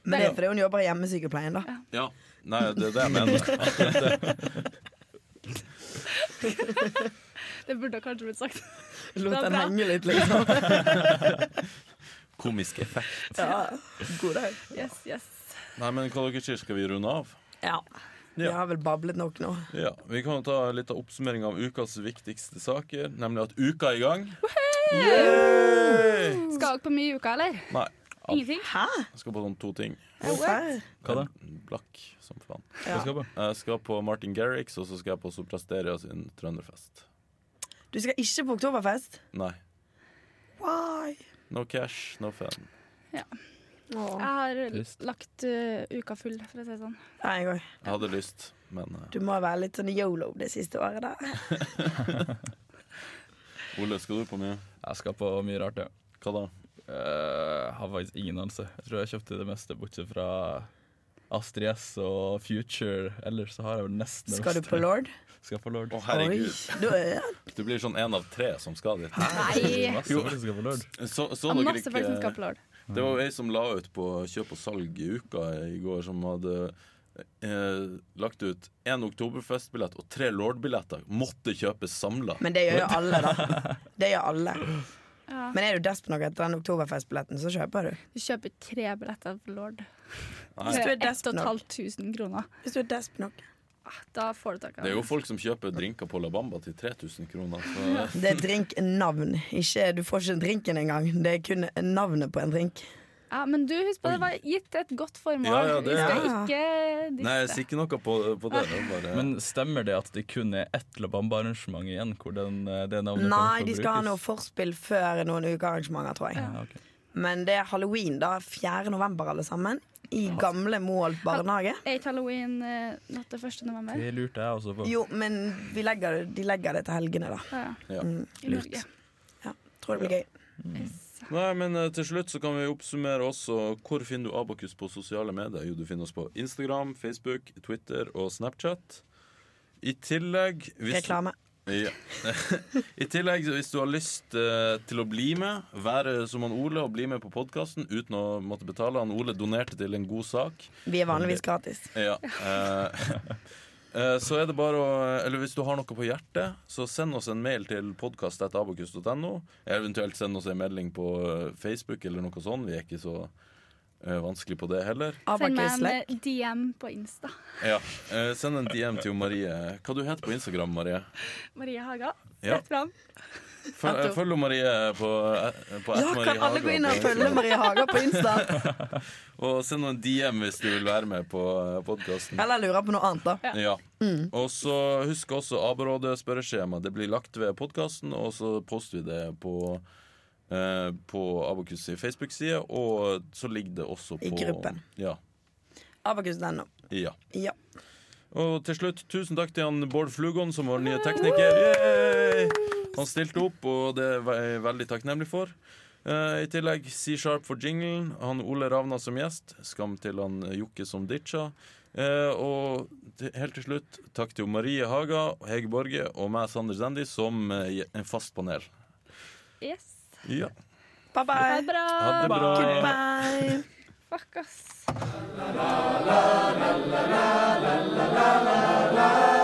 Speaker 4: Men det er fordi hun jobber i hjemmesykepleien, da.
Speaker 3: ja. Nei, det er det jeg mener.
Speaker 1: Det burde kanskje blitt sagt.
Speaker 4: Lot
Speaker 1: Det er
Speaker 4: den
Speaker 1: bra.
Speaker 4: henge litt, liksom.
Speaker 3: Komisk effekt.
Speaker 4: Ja. God dag.
Speaker 1: Yes, yes.
Speaker 3: Nei, men hva dere sier, skal vi runde av?
Speaker 4: Ja. Vi har vel bablet nok nå.
Speaker 3: Ja, Vi kan jo ta litt av oppsummering av ukas viktigste saker, nemlig at uka er i gang. Yay!
Speaker 1: Skal dere på mye i uka, eller?
Speaker 3: Nei,
Speaker 1: Ingenting?
Speaker 4: Hæ?
Speaker 3: jeg skal på sånn to ting.
Speaker 4: Hvorfor?
Speaker 2: Hva da?
Speaker 3: Blakk som faen.
Speaker 4: Ja.
Speaker 2: Hva skal på?
Speaker 3: Jeg skal på Martin Garrix, og så skal jeg på Soprasteria sin trønderfest.
Speaker 4: Du skal ikke på oktoberfest?
Speaker 3: Nei.
Speaker 4: Why?
Speaker 3: No cash, no fun.
Speaker 1: Jeg har
Speaker 2: Trist.
Speaker 1: lagt eh, uka full, for å si det sånn.
Speaker 4: Nei, jeg går.
Speaker 3: Jeg hadde lyst, men eh,
Speaker 4: Du må være litt sånn yolo det siste året, da.
Speaker 3: eh, Ole, skal du på mye?
Speaker 2: Jeg skal på mye rart, ja.
Speaker 3: Hva da?
Speaker 2: Eh, har faktisk ingen anelse. Jeg tror jeg kjøpte det meste, bortsett fra Astrid S og Future. Ellers så har jeg vel nesten det
Speaker 4: Skal du
Speaker 2: meste.
Speaker 4: på Lord?
Speaker 2: Skal på Lord.
Speaker 3: Å, herregud.
Speaker 4: Oi. Du, ja.
Speaker 3: Du blir sånn én av tre som skal dit.
Speaker 1: Nei!
Speaker 2: Masse folk som skal på Lord.
Speaker 3: Så, så
Speaker 1: Jeg har
Speaker 3: dere
Speaker 1: masse folk som skal
Speaker 3: ikke
Speaker 1: på lord.
Speaker 3: Det var jo ei som la ut på kjøp og salg i uka i går, som hadde eh, lagt ut én Oktoberfest-billett og tre Lord-billetter. Måtte kjøpes samla.
Speaker 4: Men det gjør jo alle, da. Det gjør alle.
Speaker 1: Ja.
Speaker 4: Men er du despen nok etter den oktoberfestbilletten, så kjøper du.
Speaker 1: Du kjøper tre billetter på lord.
Speaker 3: Nei.
Speaker 1: Det
Speaker 4: Hvis du
Speaker 1: er
Speaker 4: er despen nok.
Speaker 1: 1500 kroner.
Speaker 4: Hvis du er despen nok.
Speaker 1: Ah, Da får du tak i
Speaker 3: Det er jo folk som kjøper drinker på La Bamba til 3000 kroner. Så
Speaker 4: Det er drinknavn. Ikke, du får ikke drinken engang. Det er kun navnet på en drink.
Speaker 1: Ja, men du, husk på det var gitt til et godt formål.
Speaker 3: Ja, ja, det-
Speaker 1: Vi skal
Speaker 4: Ja.
Speaker 1: ikke disse.
Speaker 3: Nei, jeg sier ikke noe på, på det. det er bare,
Speaker 2: Men stemmer det at det kun er ett La Bamba-arrangement igjen hvor den, eh, det navnet
Speaker 4: Nei,
Speaker 2: kommer til å
Speaker 4: de skal ha
Speaker 2: brukes?
Speaker 4: noe forspill før noen ukearrangementer, tror jeg.
Speaker 2: Ja, ok.
Speaker 4: Men det er halloween, da. 4. november, alle sammen. I gamle Moholt barnehage.
Speaker 1: Er ikke halloween eh, natt til 1. november?
Speaker 2: Det lurte jeg også på.
Speaker 4: Jo, men vi legger, de legger det til helgene, da.
Speaker 1: Ja, ja.
Speaker 3: ja.
Speaker 1: I Norge.
Speaker 4: Ja, tror det blir gøy.
Speaker 1: Yes.
Speaker 3: Nei, men eh, til slutt så kan vi oppsummere også hvor finner du Abakus på sosiale medier. Jo, du finner oss på Instagram, Facebook, Twitter og Snapchat. I tillegg hvis-
Speaker 4: Reklame.
Speaker 3: Ja. I tillegg, så hvis du har lyst eh, til å bli med, være som han Ole og bli med på podkasten uten å måtte betale Han Ole donerte til en god sak.
Speaker 4: Vi er vanligvis gratis.
Speaker 3: Ja. eh, eh, Så er det bare å Eller hvis du har noe på hjertet, så send oss en mail til podkast.abakus.no. Eventuelt send oss en melding på eh, Facebook eller noe sånt. Vi er ikke så eh, vanskelig på det heller.
Speaker 1: Send meg
Speaker 4: Abakus
Speaker 1: en
Speaker 4: Lek.
Speaker 1: eh, DM på Insta.
Speaker 3: Ja. eh, Send en DM til Marie. Hva du heter på Instagram, Marie?
Speaker 1: Marie Haga.
Speaker 3: Ja.
Speaker 1: Rett fram.
Speaker 3: Følg, eh, følg Marie på, eh, på
Speaker 4: Ja,
Speaker 3: Marie
Speaker 4: kan alle
Speaker 3: Haga
Speaker 4: gå inn
Speaker 3: på
Speaker 4: og følge
Speaker 3: Instagram.
Speaker 4: Marie Haga på Insta?
Speaker 3: Og send en DM hvis du vil være med på eh, podkasten.
Speaker 4: Eller lurer på noe annet, da.
Speaker 3: Ja.
Speaker 4: Mm.
Speaker 3: Og så husk også Aberådet spørreskjema. Det blir lagt ved podkasten, og så poster vi det på eh, på Abokus sin Facebook-side, og så ligger det også
Speaker 4: I
Speaker 3: på
Speaker 4: gruppen.
Speaker 3: Ja.
Speaker 4: Abakus.no.
Speaker 3: ja.
Speaker 4: Ja.
Speaker 3: Og til slutt, tusen takk til han Bård Flugon, som var vår nye tekniker. Yay! Han stilte opp, og det er jeg veldig takknemlig for. Eh, I tillegg C-Sharp for jinglen, han Ole Ravna som gjest, skam til han Jokke som ditcha. Eh, og til, helt til slutt, takk til Marie Haga, Hege Borge og meg, Sander Zendi, som eh, gje- en fast panel.
Speaker 1: Yes.
Speaker 3: Ja.
Speaker 4: Bye
Speaker 1: Ha det
Speaker 4: bye.
Speaker 1: bra.
Speaker 3: Ha det bra.
Speaker 4: Goodbye.
Speaker 1: Fuck, ass.